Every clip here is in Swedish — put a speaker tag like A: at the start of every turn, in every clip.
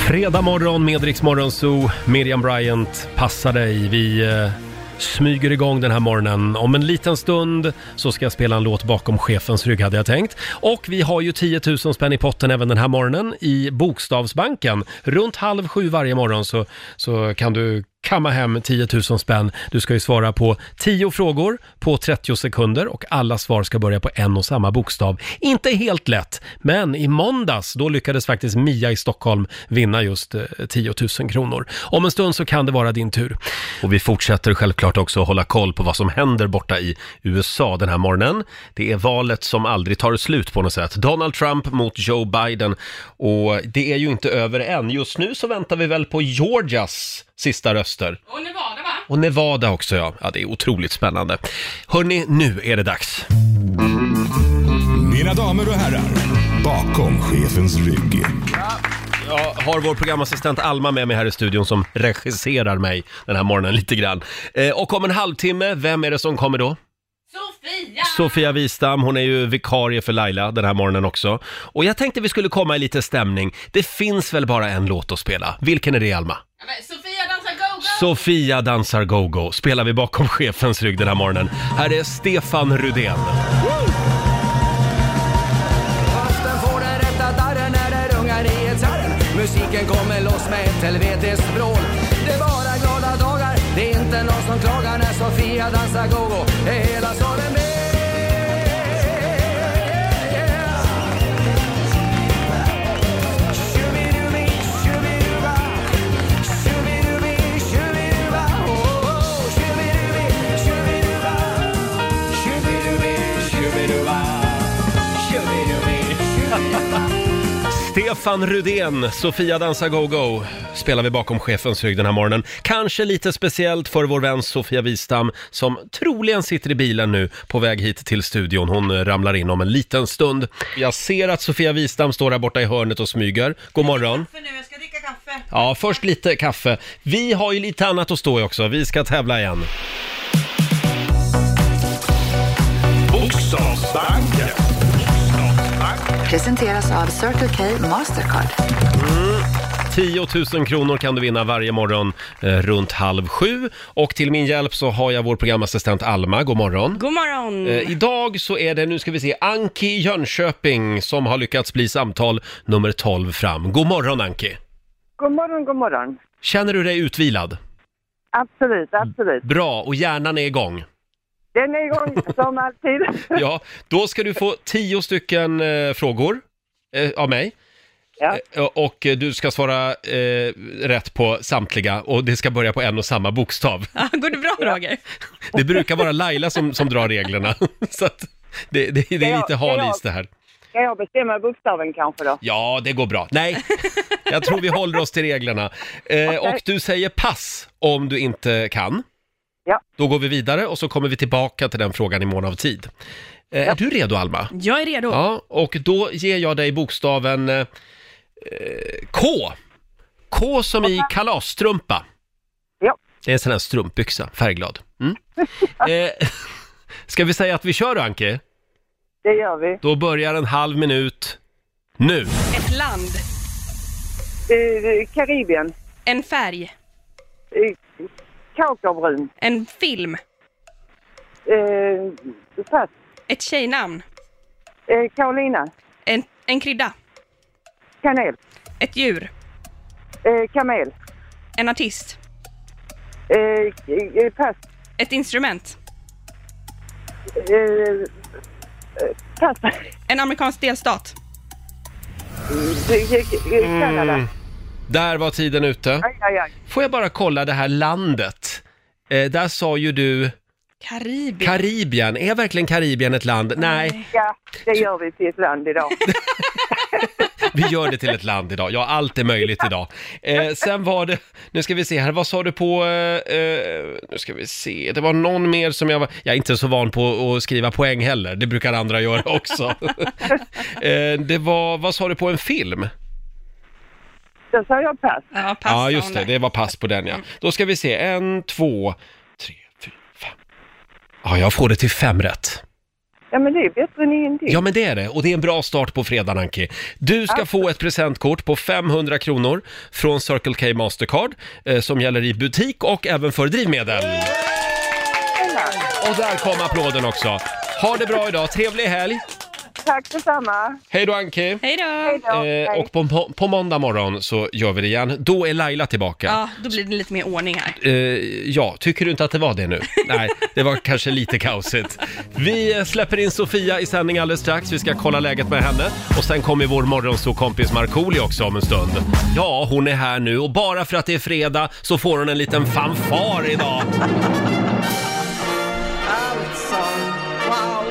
A: Fredag morgon med Rix Morgon Zoo. Miriam Bryant, passa dig. Vi eh, smyger igång den här morgonen. Om en liten stund så ska jag spela en låt bakom chefens rygg hade jag tänkt. Och vi har ju 10 000 spänn i potten även den här morgonen i Bokstavsbanken. Runt halv sju varje morgon så, så kan du kamma hem 10 000 spänn. Du ska ju svara på 10 frågor på 30 sekunder och alla svar ska börja på en och samma bokstav. Inte helt lätt, men i måndags då lyckades faktiskt Mia i Stockholm vinna just eh, 10 000 kronor. Om en stund så kan det vara din tur. Och vi fortsätter självklart också att hålla koll på vad som händer borta i USA den här morgonen. Det är valet som aldrig tar slut på något sätt. Donald Trump mot Joe Biden och det är ju inte över än. Just nu så väntar vi väl på Georgias sista röster.
B: Och Nevada va?
A: Och Nevada också ja. Ja, det är otroligt spännande. Hörni, nu är det dags.
C: Mina damer och herrar, bakom chefens rygg.
A: Jag har vår programassistent Alma med mig här i studion som regisserar mig den här morgonen lite grann. Eh, och om en halvtimme, vem är det som kommer då?
B: Sofia!
A: Sofia Wistam, hon är ju vikarie för Laila den här morgonen också. Och jag tänkte vi skulle komma i lite stämning. Det finns väl bara en låt att spela? Vilken är det Alma?
B: Ja, men Sofia dansar go-go!
A: Sofia dansar go-go spelar vi bakom chefens rygg den här morgonen. Här är Stefan Rudén.
D: Fasten får den rätta darren när det rungar i gitarren. Musiken kommer loss med ett helvetiskt vrål. Det är bara glada dagar, det är inte någon som klagar när Sofia dansar go-go. Är hela salen med? Shubidumi, shubiduba. Shubidumi, shubiduba. Oh, oh, oh. Shubidumi, shubiduba. Shubidumi, shubiduba.
A: Stefan Rudén, Sofia dansar go-go spelar vi bakom chefens rygg den här morgonen. Kanske lite speciellt för vår vän Sofia Wistam som troligen sitter i bilen nu på väg hit till studion. Hon eh, ramlar in om en liten stund. Jag ser att Sofia Wistam står här borta i hörnet och smyger. God morgon.
E: kaffe nu, jag ska dricka kaffe.
A: Ja, först lite kaffe. Vi har ju lite annat att stå i också. Vi ska tävla igen.
C: Bokstavsbanken.
F: Presenteras av Circle K Mastercard.
A: 10 000 kronor kan du vinna varje morgon eh, runt halv sju. Och till min hjälp så har jag vår programassistent Alma. God morgon.
E: God morgon!
A: Eh, Idag så är det, nu ska vi se, Anki i Jönköping som har lyckats bli samtal nummer 12 fram. God morgon Anki!
G: God morgon, god morgon. Mm.
A: Känner du dig utvilad?
G: Absolut, absolut.
A: Bra, och hjärnan är igång.
G: Den är igång som alltid.
A: Ja, då ska du få 10 stycken eh, frågor eh, av mig.
G: Ja.
A: Eh, Och eh, du ska svara eh, rätt på samtliga och det ska börja på en och samma bokstav.
E: Ja, Går det bra Roger?
A: Det brukar vara Laila som, som drar reglerna. Så att det, det, det är
G: jag-
A: lite
G: ska jag-
A: hal is det här.
G: Ska jag bestämma bokstaven kanske då?
A: Ja, det går bra. Nej, jag tror vi håller oss till reglerna. Eh, och du säger pass om du inte kan.
G: Ja.
A: Då går vi vidare och så kommer vi tillbaka till den frågan i mån av tid. Eh, Är du redo Alma?
E: Jag är redo.
A: Ja, och då ger jag dig bokstaven eh, K. K som i kalasstrumpa.
G: Ja.
A: Det är en sån här strumpbyxa, färgglad. Mm. Eh, ska vi säga att vi kör Anke?
G: Det gör vi.
A: Då börjar en halv minut nu.
E: Ett land,
G: Eh, Karibien.
E: en färg,
G: Eh, Kakaobrun.
E: en film,
G: Eh, pass.
E: ett tjejnamn,
G: Eh, Carolina.
E: en, en krydda,
G: Kanel.
E: ett djur,
G: Eh, kamel.
E: en artist,
G: Eh, eh, pass.
E: ett instrument,
G: Eh, eh, pass.
E: en amerikansk delstat.
G: Eh, eh, eh, Kanada.
A: Där var tiden ute.
G: Aj, aj, aj.
A: Får jag bara kolla det här landet? Eh, där sa ju du
E: Karibien.
A: Karibien. Är verkligen Karibien ett land? Nej,
G: Ja, det gör vi till ett land idag.
A: vi gör det till ett land idag. Ja, allt är möjligt idag. Eh, sen var det, nu ska vi se här, vad sa du på, eh, eh, nu ska vi se, det var någon mer som jag var, jag är inte så van på att skriva poäng heller, det brukar andra göra också. eh, det var, vad sa du på en film?
G: Då sa jag pass.
E: Ja, pass
A: Ja,
E: sa
A: just
E: hon
A: det.
E: där.
A: Det var pass på den, ja. Då ska vi se. En, två, tre, fyra, fem. Ja, jag får det till fem rätt.
G: Ja, men det är ju bättre än ingenting.
A: Ja, men det är det. Och det är en bra start på fredagen, Anki. Du ska få ett presentkort på 500 kronor från Circle K Mastercard eh, som gäller i butik och även för drivmedel. Och där kom applåden också. Ha det bra idag, trevlig helg!
G: Tack detsamma.
A: Hej då Anki!
E: Hej då!
G: Hej då.
A: Eh, och på, på, på måndag morgon så gör vi det igen. Då är Laila tillbaka.
E: Ja, då blir det lite mer ordning här.
A: Eh, ja, tycker du inte att det var det nu? Nej, det var kanske lite kaosigt. Vi eh, släpper in Sofia i sändning alldeles strax. Vi ska kolla läget med henne. Och sen kommer vår morgonsåkompis Markoolio också om en stund. Ja, hon är här nu och bara för att det är fredag så får hon en liten fanfar idag.
D: Alltså, wow.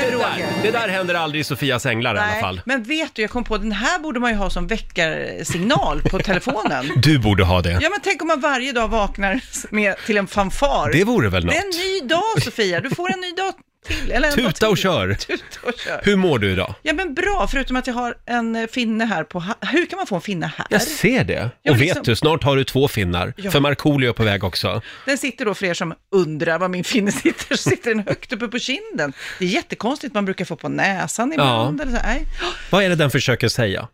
A: Det
H: Roger.
A: där, det där händer aldrig i Sofias änglar i alla fall.
H: men vet du, jag kom på den här borde man ju ha som väckarsignal på telefonen.
A: Du borde ha det.
H: Ja, men tänk om man varje dag vaknar med, till en fanfar.
A: Det vore väl
H: Det
A: något.
H: är en ny dag, Sofia. Du får en ny dag till. Eller en dag
A: Tuta och
H: till.
A: kör.
H: Tuta och kör.
A: Hur mår du idag?
H: Ja, men bra, förutom att jag har en eh, finne här på... ha- Hur kan man få en finne här?
A: Jag ser det.
H: Ja,
A: Och
H: liksom-
A: vet du, snart har du två finnar.
H: Ja.
A: För Markoolio är på väg också.
H: Den sitter då, för er som undrar var min finne sitter, så sitter den högt uppe på kinden. Det är jättekonstigt, man brukar få på näsan ibland. Eller så. Nej.
A: Vad är det den försöker säga?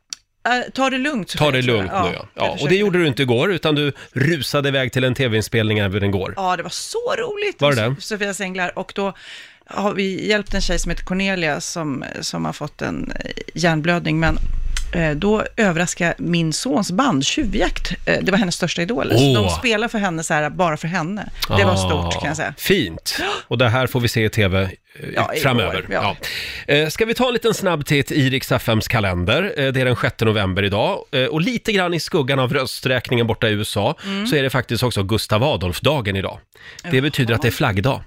H: Eh, ta det lugnt, Sofia,
A: Ta det
H: tror jag.
A: lugnt nu ja.
H: jag
A: ja. Och det
H: försöker.
A: gjorde du inte igår, utan du rusade iväg till en tv-inspelning även igår.
H: Ja, det var så roligt.
A: Var det det?
H: Sofia Sänglar. Och då har vi hjälpt en tjej som heter Cornelia som, som har fått en eh, hjärnblödning. Men eh, då överraskar min sons band Tjuvjakt. Eh, det var hennes största idol. Så
A: Åh.
H: De spelar för henne så här, bara för henne. Det var stort kan jag säga.
A: Ah, Fint! Och det här får vi se i tv eh,
H: Ja, igår,
A: framöver.
H: ja.
A: Ja. Eh, Ska vi ta en liten snabb titt i Rix FMs kalender? Eh, Det är den 6 november idag. Eh, Och lite grann i skuggan av rösträkningen borta i USA
H: Mm.
A: så är det faktiskt också Gustav Adolf-dagen idag. Det betyder att det är flaggdag.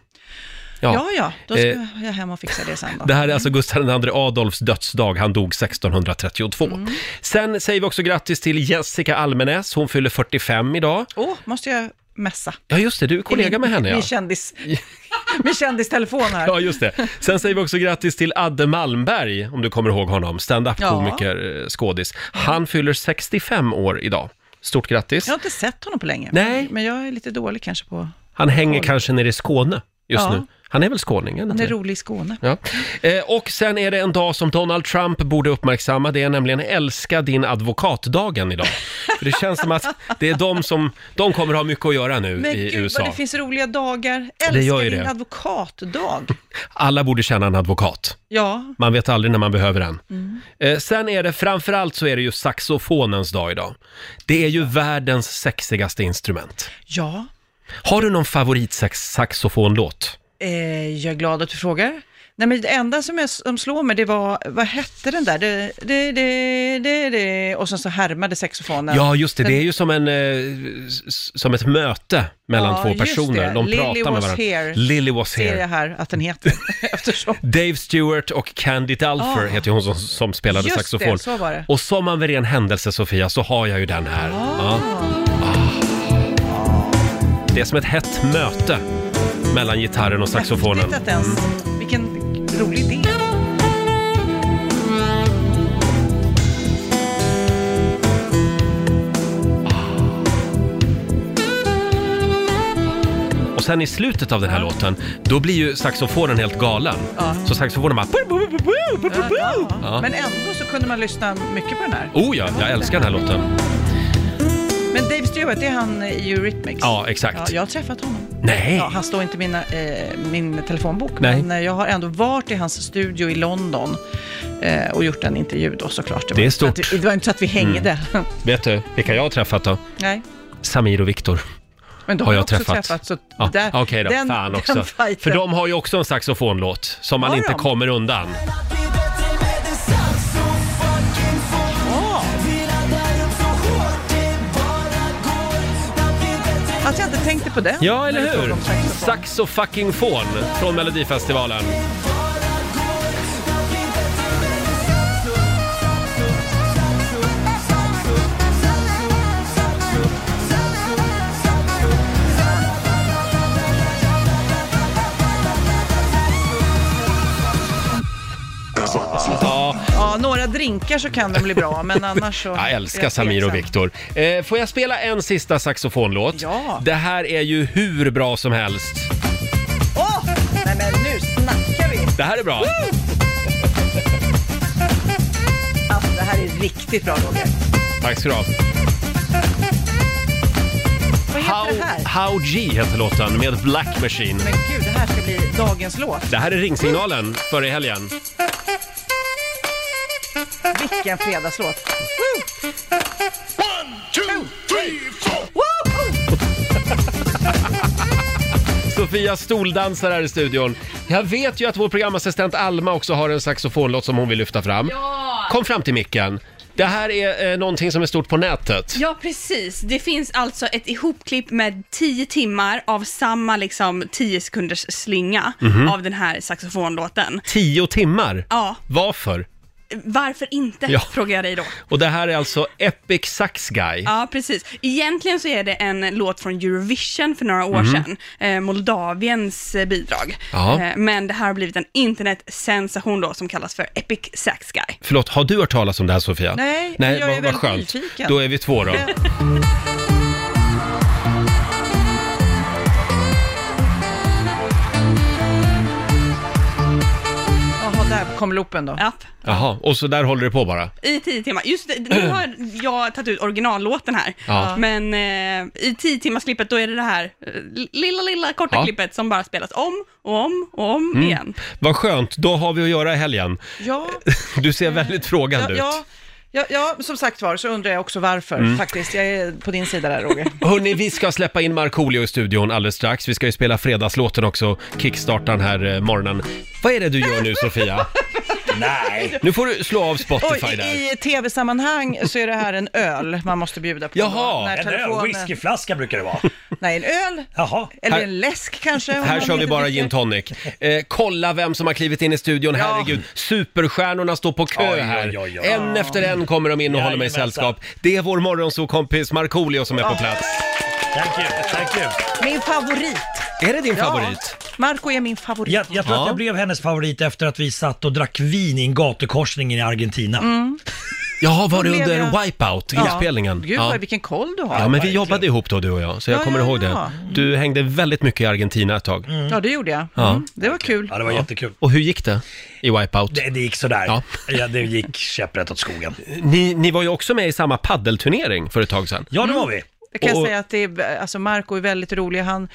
H: Ja, ja, då ska
A: Eh,
H: jag hem och fixa det sen då.
A: Det här är alltså Gustav II Adolfs dödsdag. Han dog 1632. Sen säger vi också grattis till Jessica Almenäs. Hon fyller 45 idag.
H: Åh, måste jag messa?
A: Ja, just det. Du är kollega
H: Min-
A: med henne, ja.
H: Min kändis, min kändistelefon här.
A: Ja, just det. Sen säger vi också grattis till Adde Malmberg, om du kommer ihåg honom. Stand-up-komiker, eh, skådis. Han fyller 65 år idag. Stort grattis.
H: Jag har inte sett honom på länge.
A: Nej.
H: Men jag är lite dålig kanske på...
A: Han hänger kanske nere i Skåne just
H: Ja.
A: nu. Han är väl skåning? eller
H: Han är
A: inte?
H: rolig i Skåne.
A: Ja. Eh, och sen är det en dag som Donald Trump borde uppmärksamma. Det är nämligen älska din advokatdagen idag. För det känns som att det är de som, de kommer ha mycket att göra nu
H: Men
A: i
H: gud
A: USA.
H: vad det finns roliga dagar.
A: Det gör
H: Älskar
A: ju
H: din
A: det.
H: advokatdag.
A: Alla borde känna en advokat.
H: Ja,
A: Man vet aldrig när man behöver den.
H: Mm.
A: Eh, sen är det, framförallt så är det ju saxofonens dag idag. Det är ju världens sexigaste instrument.
H: ja.
A: Har du någon favoritsaxofonlåt?
H: Eh, jag är glad att du frågar. Nej, men det enda som, jag, som slår mig, det var, vad hette den där? Det, det, det, det, det. Och sen så härmade saxofonen.
A: Ja, just det. Det är ju som, en, eh, s- som ett möte mellan
H: Ja,
A: två
H: just
A: personer.
H: det.
A: De
H: Lily
A: pratar med
H: was
A: varandra.
H: here.
A: Lily was
H: Ser jag
A: here.
H: här att den heter. Eftersom...
A: Dave Stewart och Candy Dulfer
H: Ah.
A: heter ju hon som, som spelade
H: Just det,
A: saxofon.
H: så var det.
A: Och som av en ren händelse, Sofia, så har jag ju den här. Ja. Ah. Det är som ett hett möte mellan gitarren och saxofonen.
H: Häftigt att ens... Vilken rolig idé.
A: Och sen i slutet av den här låten, då blir ju saxofonen helt galen. Så saxofonen bara...
H: Ja.
A: Ja.
H: Men ändå så kunde man lyssna mycket på den här.
A: Oh ja, jag älskar den här låten.
H: Men Dave Stewart, det är han i Eurythmics?
A: Ja, exakt.
H: Ja, jag har träffat honom.
A: Nej!
H: Ja, han står inte i mina, eh, min telefonbok,
A: Nej.
H: men eh, jag har ändå varit i hans studio i London eh, och gjort en intervju då såklart.
A: Det är
H: var inte så att
A: stort. Mm.
H: Vi, det var inte så att vi hängde.
A: Vet du vilka jag har träffat då?
H: Nej.
A: Samir och Viktor.
H: Men de
A: Har
H: har
A: jag
H: också
A: träffat?
H: träffat. så
A: Ja,
H: där-
A: Okej då,
H: den,
A: fan
H: den
A: också.
H: fighten.
A: För de har ju också en saxofonlåt som man
H: Har
A: inte
H: de?
A: kommer undan.
H: Ja. Att jag inte tänkte på den.
A: Ja,
H: när
A: eller
H: du frågade
A: hur?
H: om saxofon.
A: Saxo-fucking-fon från Melodifestivalen. Ja,
H: Ja, några drinkar så kan de bli bra, men annars så...
A: jag
H: är
A: älskar Samir och
H: tveksam.
A: Viktor. Eh, får jag spela en sista saxofonlåt?
H: Ja.
A: Det här är ju hur bra som helst.
H: Åh,
A: Det här är bra.
H: Alltså, det här är riktigt bra Roger.
A: Tack ska du ha.
H: Vad heter
A: How,
H: det här?
A: How G heter låten med Black Machine.
H: Men gud, det här ska bli dagens låt.
A: Det här är ringsignalen för i helgen.
H: Vilken fredagslåt.
A: Sofia Stoldansar här i studion. Jag vet ju att vår programassistent Alma också har en saxofonlåt som hon vill lyfta fram.
B: Ja.
A: Kom fram till micken. Det här är eh, någonting som är stort på nätet.
E: Ja, precis. Det finns alltså ett ihopklipp med 10 timmar av samma liksom 10 sekunders slinga
A: Mhm.
E: av den här saxofonlåten.
A: Tio timmar?
E: Ja,
A: Varför?
E: varför inte?
A: Ja.
E: Frågar jag dig då.
A: Och det här är alltså Epic Sax Guy.
E: Ja, precis. Egentligen så är det en låt från Eurovision för några år sedan, eh, Moldaviens eh, bidrag.
A: Mhm. Ja.
E: Eh, men det här har blivit en internetsensation då som kallas för Epic Sax Guy.
A: Förlåt, har du hört talas om det här Sofia?
H: Nej,
A: Nej
H: jag
A: vad,
H: är
A: vad
H: väldigt
A: skönt.
H: nyfiken.
A: Då är vi två då.
H: Jaha, där kom loopen då.
E: App.
A: Jaha, och så där håller det på bara.
E: I tio timmar. Just det, nu har jag tagit ut originallåten här.
A: Ja.
E: Men eh, i tio timmars klippet då är det det här eh, lilla, lilla korta
A: Ja. Mm.
E: klippet som bara spelas om och om och om igen.
A: Vad skönt, då har vi att göra i helgen.
H: Ja,
A: Du ser väldigt
H: ja,
A: frågande
H: ja, ja, ja, som sagt var så undrar jag också varför
A: Mm.
H: faktiskt. Jag är på din sida där Roger.
A: ut. Hörni, vi ska släppa in Markoolio i studion alldeles strax. Vi ska ju spela fredagslåten också, kickstarta den här eh, morgonen. Vad är det du gör nu Sofia? Nej! Nu får du slå av Spotify
H: Oj,
A: där.
H: i, i tv-sammanhang så är det här en öl man måste bjuda på.
A: Jaha,
H: då, när
I: En öl,
H: telefonen-
I: whiskyflaska brukar det vara.
H: Nej, en öl.
I: Jaha.
H: Eller
A: Här-
H: en läsk kanske. om
A: Här
H: man
A: kör vi
H: inte
A: bara
H: dricker.
A: gin tonic. Eh, kolla vem som har klivit in i studion, herregud. Superstjärnorna står på kö
I: Oj, oj,
A: här.
I: oj, oj.
A: En efter en kommer de in och håller mig
I: Jajamensan.
A: sällskap. Det är vår morgonsåkompis Markoolio som är på plats.
I: Thank you, thank you.
H: Min favorit.
A: Är det din
H: Ja.
A: favorit?
H: Marco är min favorit.
I: Jag, jag tror
A: Ja.
I: att jag blev hennes favorit efter att vi satt och drack vin i en gatukorsning i Argentina.
A: Jaha, var det
H: Då blev
A: under
H: jag-
A: Wipeout-inspelningen?
H: Gud vad, vilken koll du har.
A: Ja, men vi jobbade ihop då du och jag, så jag
H: Ja,
A: kommer
H: ja,
A: ihåg
H: ja.
A: det. Du hängde väldigt mycket i Argentina ett tag.
H: Ja, det gjorde jag.
A: Ja.
H: Mm, det var kul.
I: Ja, det var jättekul.
A: Och hur gick det i Wipeout?
I: Det, det gick sådär.
A: Ja.
I: Ja. det gick käpprätt åt skogen.
A: Ni, ni var ju också med i samma paddelturnering för ett tag sedan.
I: Ja, det var vi.
H: Jag kan
A: Och-
H: säga att det är, alltså Marco är väldigt rolig. Han,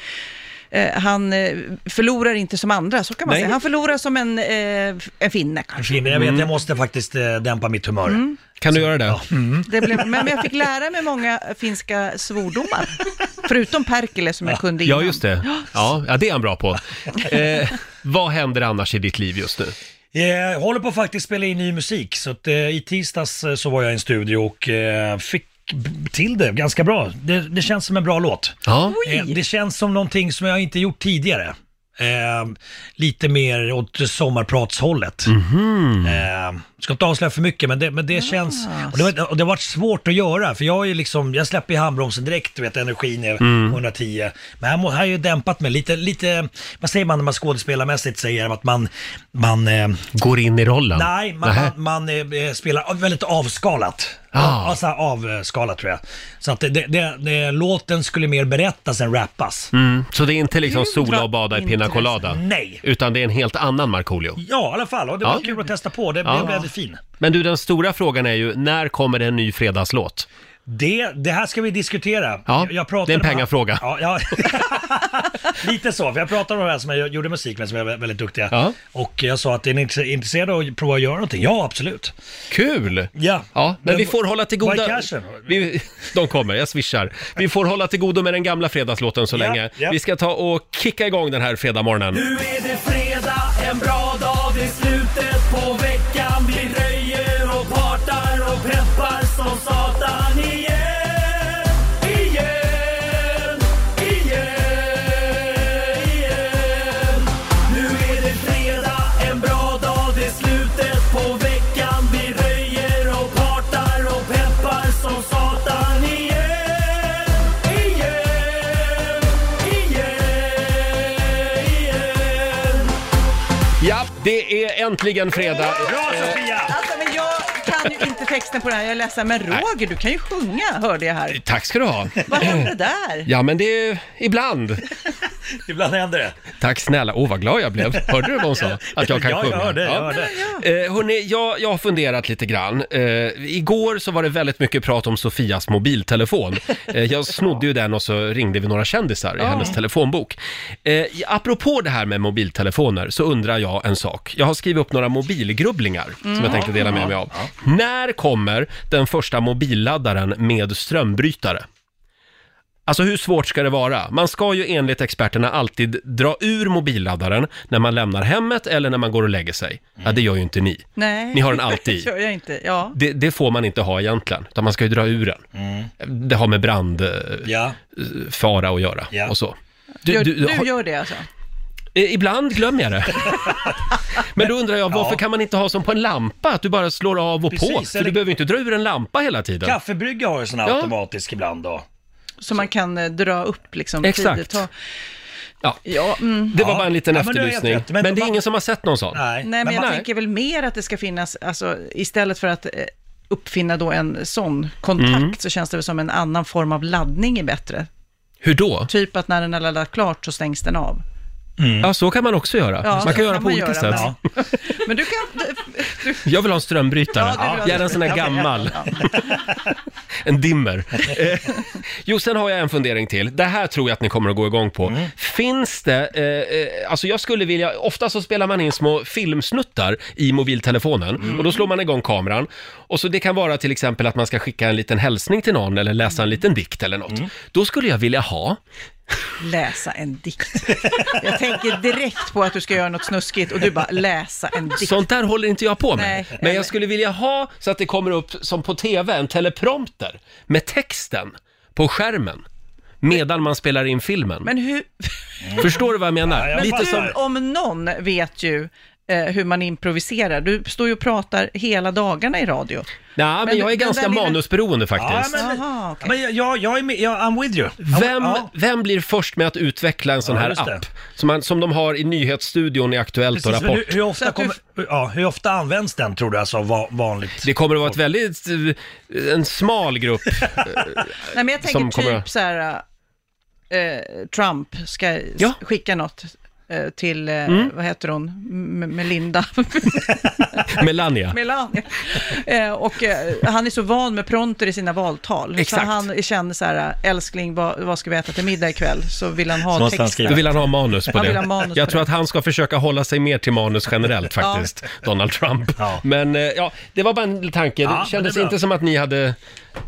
H: eh, han eh, förlorar inte som andra, så kan man
A: Nej.
H: säga. Han förlorar som en, eh, en finne kanske.
I: Finne, jag
A: Mm.
I: vet, jag måste faktiskt eh, dämpa mitt humör.
A: Kan du göra det?
H: Det blev, men men jag fick lära mig många finska svordomar. Förutom Perkele som jag kunde innan.
A: Ja, just det. Ja, ja, det är han bra på. Eh, vad händer annars i ditt liv just nu?
I: Jag Eh, håller på att faktiskt spela in ny musik, så att, eh, i tisdags eh, så var jag i en studio och eh, fick b- till det ganska bra. Det, det känns som en bra låt.
A: Ja,
I: Eh, det känns som någonting som jag inte gjort tidigare. Eh, lite mer åt sommarpratshållet.
A: Mhm.
I: Eh, ska inte avslöja för mycket, men det, men det känns... Och det, var- och det har varit svårt att göra, för jag är ju liksom... Jag släpper i handbromsen direkt, du vet, energin är
A: Mm.
I: 110. Men här, må, här är ju dämpat mig lite, lite... Vad säger man när man skådespelarmässigt säger att man... man eh,
A: går in i rollen.
I: Nej, man,
A: Nähä.
I: man, man eh, spelar väldigt avskalat.
A: Ah.
I: Alltså avskalat tror jag. Så att det, det, det, det, låten skulle mer berättas än rappas.
A: Mm, så det är inte liksom
H: Gud,
A: sola
H: vad
A: och bada i pina
H: intressant.
A: colada?
I: Nej.
A: Utan det är en helt annan Markoolio?
I: Ja, i alla fall. Och det var
A: Ja.
I: kul att testa på. Det blev
A: Ja.
I: väldigt fin.
A: Men du, den stora frågan är ju, när kommer det en ny fredagslåt?
I: Det, det här ska vi diskutera.
A: Ja,
I: pratade
A: det är en
I: med-
A: pengafråga.
I: Ja, ja. Lite så, för jag pratade med de här som jag gjorde musik med, som är vä- väldigt duktiga.
A: Ja.
I: Och jag sa att är ni inte- intresserade av att prova att göra någonting? Ja, absolut.
A: Kul!
I: Ja,
A: Ja, men vi får hålla till
I: Vad är
A: goda...
I: cashen?
A: Vi, de kommer, jag swishar. Vi får hålla till godo med den gamla fredagslåten så
I: Ja,
A: länge.
I: ja.
A: Vi ska ta och kicka igång den här fredagmorgonen.
I: Nu är det fredag, en bra dag, det är slutet på veckan. Vi röjer och partar och peppar som satan igen. Igen, igen, igen. Nu är det fredag, en bra dag, det är slutet på veckan. Vi röjer och partar och peppar som satan igen. Igen, igen, igen.
A: Ja, det är äntligen fredag.
I: Bra Sofia!
H: Alltså, men jag kan ju inte texten på det här, jag är ledsen. Men Roger, du kan ju sjunga, hörde jag här.
A: Tack ska du ha.
H: Vad hände där?
A: Ja, men det är ibland.
I: Ibland händer det.
A: Tack snälla. Åh, vad glad jag blev. Hörde du vad hon sa? Att jag kan
I: ja,
A: sjunga.
I: Jag hörde, jag
A: Ja.
I: hörde.
A: Eh, hörni, jag, jag har funderat lite grann. Eh, igår så var det väldigt mycket prat om Sofias mobiltelefon. Eh, jag snodde ju den och så ringde vi några kändisar i hennes telefonbok. Eh, apropå det här med mobiltelefoner så undrar jag en sak. Jag har skrivit upp några mobilgrubblingar som
I: Mm.
A: jag tänkte dela med mig av. När kommer den första mobilladdaren med strömbrytare? Alltså hur svårt ska det vara? Man ska ju enligt experterna alltid dra ur mobilladdaren när man lämnar hemmet eller när man går och lägger sig. Ja, det gör ju inte ni.
H: Nej.
A: Ni har den alltid i.
H: Det gör jag inte. Ja.
A: Det, det får man inte ha egentligen, utan man ska ju dra ur den. Det har med brandfara
I: Ja.
A: att göra
I: Ja.
A: och så.
H: Gör, du,
A: har-
H: gör det alltså?
A: Eh, Ibland glömmer jag det. Men då undrar jag, varför
I: Ja.
A: kan man inte ha som på en lampa, att du bara slår av och på?
I: Precis,
A: För du
I: eller-
A: behöver ju inte dra ur en lampa hela tiden.
I: Kaffebrygga har ju sån här
A: Ja.
I: automatisk ibland då.
H: Så man kan eh, dra upp liksom
A: Exakt.
H: tidigt. Ta-
A: Ja.
H: Ja, mm.
A: Det var
I: Ja.
A: bara en liten
I: Ja, men du har helt
A: efterlysning. Men,
I: rätt. Men
A: det är
I: man-
A: ingen som har sett någon sån.
I: Nej,
H: Nej, men jag
I: man,
H: tänker väl mer att det ska finnas, alltså istället för att eh, uppfinna då en sån kontakt
A: Mm.
H: så känns det väl som en annan form av laddning är bättre.
A: Hur då?
H: Typ att när den har laddat klart så stängs den av.
A: Ja, så kan man också göra.
H: Ja,
A: man
H: så
A: kan göra
H: kan
A: på
H: man
A: olika
H: göra,
A: sätt.
H: men- Men du kan... Du,
A: Jag vill ha en strömbrytare.
H: Ja, det vill jag.
A: Gärna en sån här
H: Ja,
A: gammal. en dimmer. Eh, jo, sen har jag en fundering till. Det här tror jag att ni kommer att gå igång på. Finns det, eh, eh, alltså jag skulle vilja, ofta så spelar man in små filmsnuttar i mobiltelefonen och då slår man igång kameran. Och så det kan vara till exempel att man ska skicka en liten hälsning till någon eller läsa en liten dikt eller något. Då skulle jag vilja ha,
H: läsa en dikt. Jag tänker direkt på att du ska göra något snuskigt och du bara läsa en dikt.
A: sånt där håller inte jag på med.
H: Nej,
A: men
H: nej,
A: jag
H: men-
A: skulle vilja ha så att det kommer upp som på TV, en teleprompter med texten på skärmen. Medan man spelar in filmen.
H: Men hur...
A: Förstår du vad jag menar?
I: Ja, jag
A: Lite
I: fattar.
A: så.
H: Du om någon vet ju eh, hur man improviserar. Du står ju och pratar hela dagarna i radio.
A: Nej, men
H: Men
A: jag är
H: den
A: ganska
H: där lilla-
A: manusberoende
I: ja,
A: faktiskt.
I: men,
H: Jaha, okej.
I: men jag, jag, jag är med, jag, I'm with you. I'm-
A: Vem,
I: ja.
A: vem blir först med att utveckla en sån
I: Ja,
A: här
I: just det.
A: app? Som, man, som de har i nyhetsstudion i Aktuellt och
I: Precis, men
A: Rapport.
I: hur, hur,
H: Så
I: ofta
H: att du-
I: kommer, ja, hur ofta används den tror du, alltså av va- vanligt?
A: Det kommer att vara ett väldigt, eh, en smal grupp.
H: Nej, men jag
A: Som
H: tänker typ
A: kommer-
H: så här, eh, Trump ska s-
A: Ja. Mm.
H: skicka något eh, till, eh, vad heter hon, M- Melinda,
A: Melania.
H: Melania. Eh, och eh, han är så van med pronter i sina valtal.
A: Exakt.
H: Så han känner så här, äh, älskling, vad, vad ska vi äta till middag ikväll? Så vill han
I: Så
H: ha
I: måste han
H: text.
I: skriva.
A: Då vill han ha manus på
H: Han vill
A: det.
H: ha manus
A: jag
H: på
A: tror
H: det.
A: att han ska försöka hålla sig mer till manus generellt faktiskt, Donald Trump.
I: Ja.
A: Men eh, ja, det var bara en tanke.
I: Ja, men
A: det kändes
I: det är bra.
A: inte som att ni hade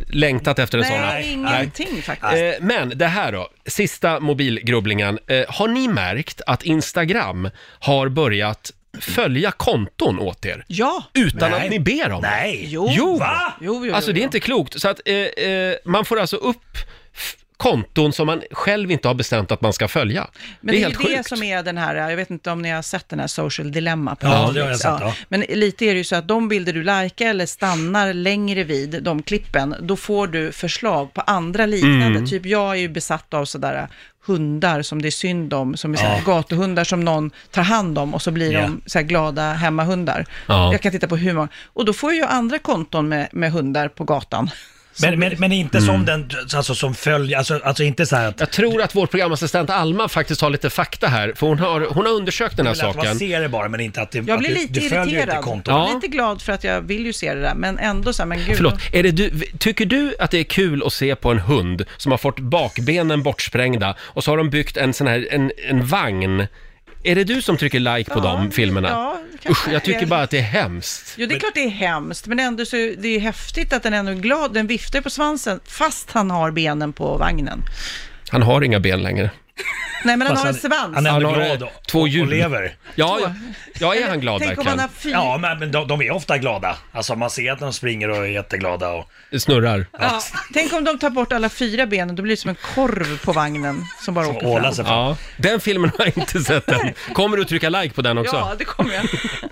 A: längtat efter en sån.
H: Nej, ingenting faktiskt.
A: Eh, men det här då, sista mobilgrubblingen. Eh, har ni märkt att Instagram har börjat följa konton åt er?
H: Ja,
A: Utan
I: Nej.
A: att ni ber om det?
I: Nej!
H: Jo.
A: Jo!
I: Va?
H: jo, jo, jo,
A: Alltså det är
H: jo.
A: inte klokt. Så att eh, eh, man får alltså upp f- konton som man själv inte har bestämt att man ska följa. det är
H: Men det är
A: helt
H: ju det
A: sjukt.
H: som är den här, jag vet inte om ni har sett den här social dilemma på
I: Ja,
H: Netflix.
I: det har jag sett, ja.
H: Men lite är det ju så att de bilder du likar eller stannar längre vid, de klippen, då får du förslag på andra liknande.
I: Mm.
H: Typ jag är ju besatt av sådär hundar som det är synd om, som är sådär gatuhundar som någon tar hand om och så blir
I: Ja.
H: de sådär glada hemmahundar.
A: Ja.
H: Jag kan titta på hur många, och då får jag ju andra konton med, med hundar på gatan.
I: Men, men, men inte
A: Mm.
I: som den, alltså som följer, alltså, alltså inte så här att...
A: Jag tror att vår programassistent Alma faktiskt har lite fakta här, för hon har, hon har undersökt den här
I: Eller att man
A: saken.
I: ser det bara men inte att det,
H: Jag
I: att
H: blir
I: du,
H: lite
I: du följer inte
H: irriterad,
I: kontot.
A: Ja.
H: lite glad för att jag vill ju se det där, men ändå så här, men gud.
A: Förlåt, är det du, tycker du att det är kul att se på en hund som har fått bakbenen bortsprängda och så har de byggt en sån här, en, en vagn? Är det du som trycker like på
H: Ja,
A: de filmerna?
H: ja,
A: Usch,
H: kanske.
A: jag tycker bara att det är hemskt.
H: Jo, det är klart det är hemskt, men ändå så är det är ju häftigt att den ändå är glad. Den viftar på svansen fast han har benen på vagnen.
A: Han har inga ben längre.
H: Nej, men han
I: Fast
H: har en
I: Alltså, han-
H: svans.
I: han är ändå
A: Han har,
I: glad
A: eh,
I: och-
A: två
I: och- och
A: hjul.
I: lever.
A: Ja, ja, ja är han glad
H: Tänk om
A: verkligen?
H: han har fyra...
I: Ja, men, men de, de är ofta glada. Alltså man ser att de springer och är jätteglada och...
A: Snurrar.
H: Ja. Tänk om de tar bort alla fyra benen, då blir det som en korv på vagnen som bara åker
I: ålar
H: fram.
I: sig fram.
A: Ja, den filmen har jag inte sett än. Kommer du trycka like på den också?
H: Ja, det kommer jag.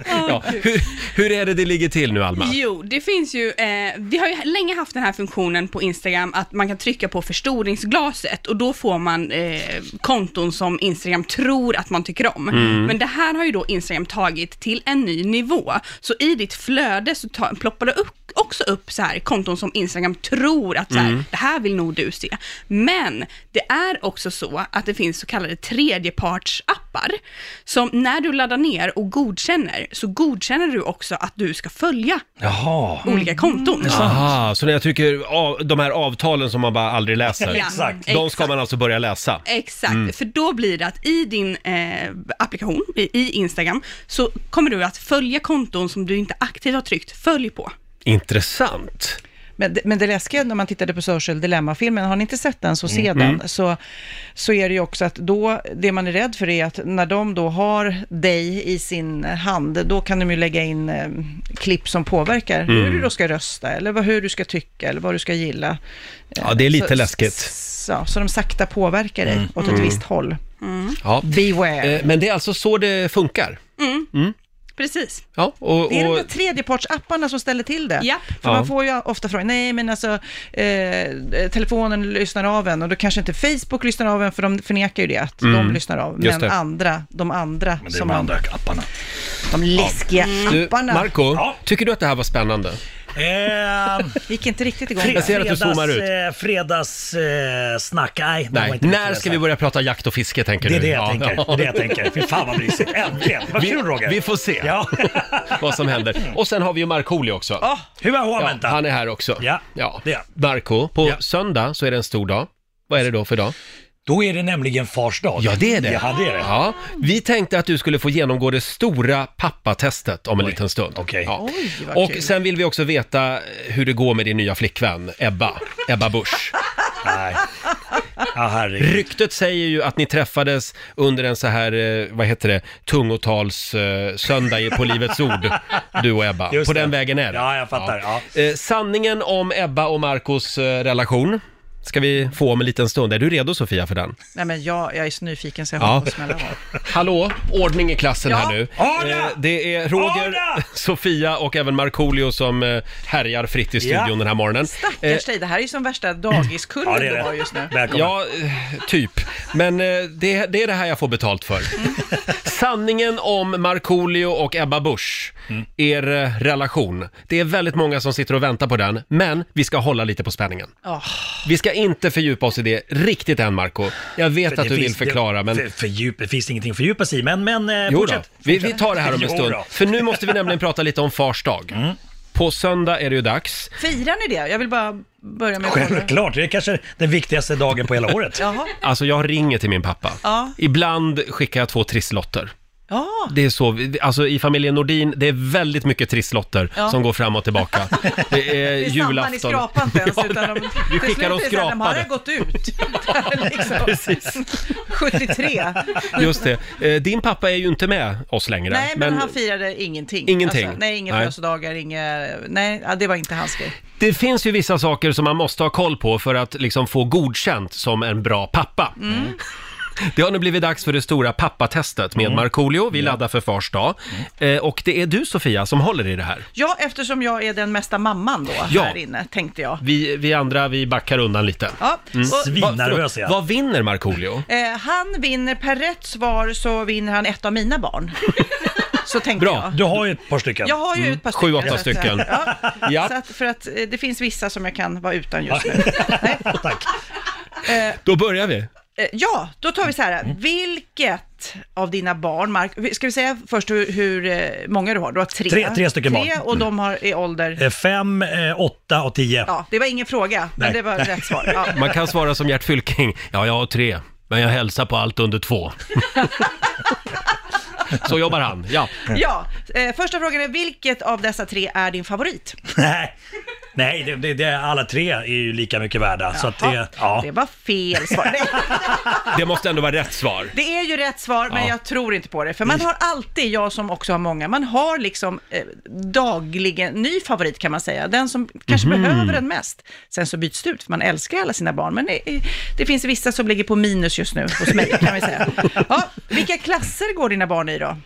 A: Ja. Hur, hur är det det ligger till nu, Alma?
E: Jo, det finns ju, eh, vi har ju länge haft den här funktionen på Instagram att man kan trycka på förstoringsglaset och då får man eh, konton som Instagram tror att man tycker om. Men det här har ju då Instagram tagit till en ny nivå. Så i ditt flöde så ta, ploppar det upp, också upp så här konton som Instagram tror att så här, det här vill nog du se. Men det är också så att det finns så kallade tredjepartsappar som när du laddar ner och godkänner så godkänner du också att du ska följa
I: Jaha.
E: olika konton.
A: Aha, så när jag tycker av, de här avtalen som man bara aldrig läser,
E: Ja,
A: de ska man alltså börja läsa?
E: Exakt,
A: Mm.
E: för då blir det att i din eh, applikation, i, i Instagram, så kommer du att följa konton som du inte aktivt har tryckt följ på.
A: Intressant.
H: Men, det- men det läskiga när man tittade på Social Dilemma-filmen, har ni inte sett den
A: Mm.
H: så se den, så, så är det ju också att då, det man är rädd för är att när de då har dig i sin hand, då kan de ju lägga in eh, klipp som påverkar
A: Mm.
H: hur du då ska rösta, eller vad, hur du ska tycka, eller vad du ska gilla. Eh,
A: Ja, det är lite
H: så,
A: läskigt. Mm.
H: s- Ja, så de sakta påverkar dig åt ett visst håll.
A: Ja.
H: Beware.
A: Eh, Men det är alltså så det funkar?
E: Precis.
A: Ja, och,
H: Det är de
A: och,
H: där tredjepartsapparna som ställer till det.
E: Japp.
H: För
A: Ja.
H: man får ju ofta frågan, nej men alltså eh, telefonen lyssnar av en och då kanske inte Facebook lyssnar av en för de förnekar ju det att de lyssnar av.
A: Mm. Just
H: Men
A: det.
H: andra, de andra
I: Men det är
H: som
I: de andra
H: man,
I: apparna.
H: de läskiga
A: du,
H: apparna.
A: Marco,
I: Ja.
A: tycker du att det här var spännande?
I: Ehm,
H: Gick inte riktigt igång.
A: Jag ser att du
I: fredags,
A: zoomar ut.
I: eh, Fredags, eh, snack, nej. det var
A: Nej.
I: inte mitt
A: När ska vi
I: fredags-
A: börja prata jakt och fiske tänker
I: Det är
A: du?
I: det jag
A: Ja.
I: tänker. Det är det jag tänker. Fy fan vad mysigt. Äntligen. Vad
A: Vi-
I: kul Roger.
A: vi får se.
I: Ja. Ah,
A: Vad som händer. Och sen har vi ju Markoolio också.
H: Ja,
I: Hur var
A: Ja,
I: hovet
A: han är här också.
I: Ja,
A: ja.
I: det är han.
A: Marco, på
I: Ja.
A: söndag så är det en stor dag. Vad är det då för dag?
I: Då är det nämligen fars dag.
A: Ja, det är det.
I: Ja, det är det.
A: Ja, vi tänkte att du skulle få genomgå det stora pappatestet om en
I: Oj.
A: liten stund.
I: Okej.
A: Ja.
H: Oj, vad
A: Och
H: kul.
A: sen vill vi också veta hur det går med din nya flickvän, Ebba. Ebba Busch.
I: Nej. Ja, herregud.
A: Ryktet säger ju att ni träffades under en så här, eh, vad heter det, tungotals eh, söndag i- på Livets Ord, du och Ebba.
I: Just
A: på
I: det.
A: den vägen är det.
I: Ja, jag fattar,
A: Eh, Sanningen om Ebba och Marcos eh, relation ska vi få om en liten stund. Är du redo Sofia för den?
H: nej men jag, jag är så nyfiken så jag
A: Ja. Eh.
H: håller på att smälla av.
A: Hallå, ordning i klassen här nu.
I: Ordna!
A: Eh, Det är Roger,
I: Ordna!
A: Sofia och även Markoolio som eh, härjar fritt i studion
I: Ja.
A: den här morgonen. Eh,
H: Stackars dig, det här är ju som värsta dagiskullen
I: Ja, det är
H: du har
I: det.
H: just nu.
I: Välkommen.
A: Ja, eh, typ. Men eh, det, det är det här jag får betalt för.
I: Mm.
A: Sanningen om Markoolio och Ebba Busch,
I: Mm.
A: er eh, relation. Det är väldigt många som sitter och väntar på den, men vi ska hålla lite på spänningen.
H: Ja.
A: Vi ska inte fördjupa oss i det riktigt än, Marco. Jag vet att
I: Det
A: du vill
I: finns-
A: förklara,
I: det,
A: men...
I: För, för djup, det finns ingenting att fördjupa sig i, men, men eh,
A: Jo då,
I: fortsätt.
A: vi, vi tar det här om en
I: Jo
A: stund.
I: då.
A: För nu måste vi nämligen prata lite om Fars dag.
H: Mm.
A: På söndag är det ju dags.
H: Firar ni det? Jag vill bara börja med att kolla.
I: Självklart, det är kanske den viktigaste dagen på hela året.
H: Jaha,
A: Alltså jag ringer till min pappa.
H: Ja.
A: Ibland skickar jag två trisslotter.
H: ja.
A: Det är så, vi- alltså i familjen Nordin, det är väldigt mycket trisslotter
H: Ja.
A: som går fram och tillbaka. Det är
H: Det samlar i
A: julafton.
H: skrapan inte ens,
A: Ja,
H: utan de,
A: vi
H: till slut
A: skickar dem
H: är det så här, De här
A: skrapade.
H: har gått ut. liksom.
A: Precis,
H: 73.
A: just det. Eh, Din pappa är ju inte med oss längre.
H: Nej, men, han firade ingenting. Alltså,
A: Ingenting.
H: nej, inga
A: Nej.
H: födelsedagar, inga... Nej, ja, det var inte hans grej.
A: Det finns ju vissa saker som man måste ha koll på för att liksom få godkänt som en bra pappa. Det har nu blivit dags för det stora pappatestet med Markoolio. Vi laddar för fars dag. Eh, och det är du Sofia som håller i det här.
H: Ja, eftersom jag är den mesta mamman då,
A: Ja.
H: här inne, tänkte jag.
A: Vi, vi andra, vi backar undan lite.
H: Ja, och,
I: Svinnervös är
A: Förlåt,
I: jag.
A: Mm. Vad vinner Markoolio?
H: eh, han vinner per rätt svar så vinner han ett av mina barn. så tänkte
A: Bra. Mm.
H: jag.
I: Du har ju ett par stycken.
H: Jag har ju ett par
A: Sju,
H: stycken.
A: åtta
H: så att säga.
A: stycken.
H: Ja.
A: Ja.
H: Så att, för att eh, det finns vissa som jag kan vara utan just nu.
I: Tack.
A: Då börjar vi.
H: Eh, Ja, då tar vi så
I: Mm.
H: här. Vilket av dina barn, Mark, ska vi säga först hur, hur eh, många du har? Du har tre.
I: Tre- tre stycken
H: tre,
I: barn. Mm.
H: och de har, i ålder...
I: Eh, Fem, eh, åtta och tio.
H: Ja, det var ingen fråga, men
I: Nej.
H: det var
I: Nej.
H: rätt svar. Ja.
A: Man kan svara som Gert Fylking. Ja, jag har tre, men jag hälsar på allt under två. Så jobbar han, ja.
H: ja, eh, första frågan är vilket av dessa tre är din favorit?
I: Nej, Nej det, det, det, alla tre är ju lika mycket värda. Så att det, ja.
H: Det var fel svar. Nej,
A: Det måste ändå vara rätt svar.
H: det är ju rätt svar, men
A: Ja.
H: jag tror inte på det. För man har alltid, jag som också har många, man har liksom eh, dagligen ny favorit kan man säga. Den som kanske behöver den mest. Sen så byts det ut, för man älskar alla sina barn. Men det, det finns vissa som ligger på minus just nu hos mig, kan vi säga. Ja, vilka klasser går dina barn i då?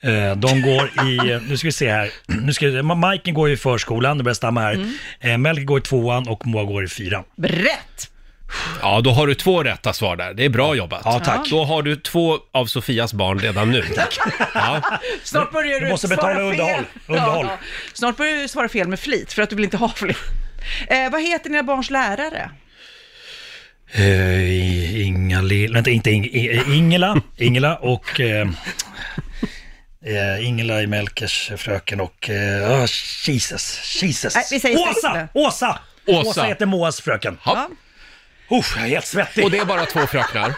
I: Eh, De går i, nu ska vi se här, nu ska vi, Ma- Majken Eh, går i förskolan, det börjar stamma här. Mm. Melker går i tvåan och Moa går i fyran.
H: Rätt!
A: Ja, då har du två rätta svar där. Det är bra jobbat.
I: Ja, tack.
A: Då har du två av Sofias barn redan nu. Ja.
H: Snart börjar du,
I: måste
H: svara
I: betala
H: fel.
I: underhåll. Underhåll.
H: Snart börjar du svara fel med flit för att du vill inte ha fler. Eh, vad heter dina barns lärare?
I: Eh, Inga Lill, vänta, inte Ing, I- Ingela, Ingela och eh, eh, Ingela i Melkers fröken och eh, ah, Jesus, Jesus.
H: Nej, vi säger
I: Åsa,
H: sista.
I: Åsa!
A: Åsa.
I: Åsa heter Moas fröken.
A: Ja.
I: Usch, jag är helt svettig.
A: Och det är bara två fröknar.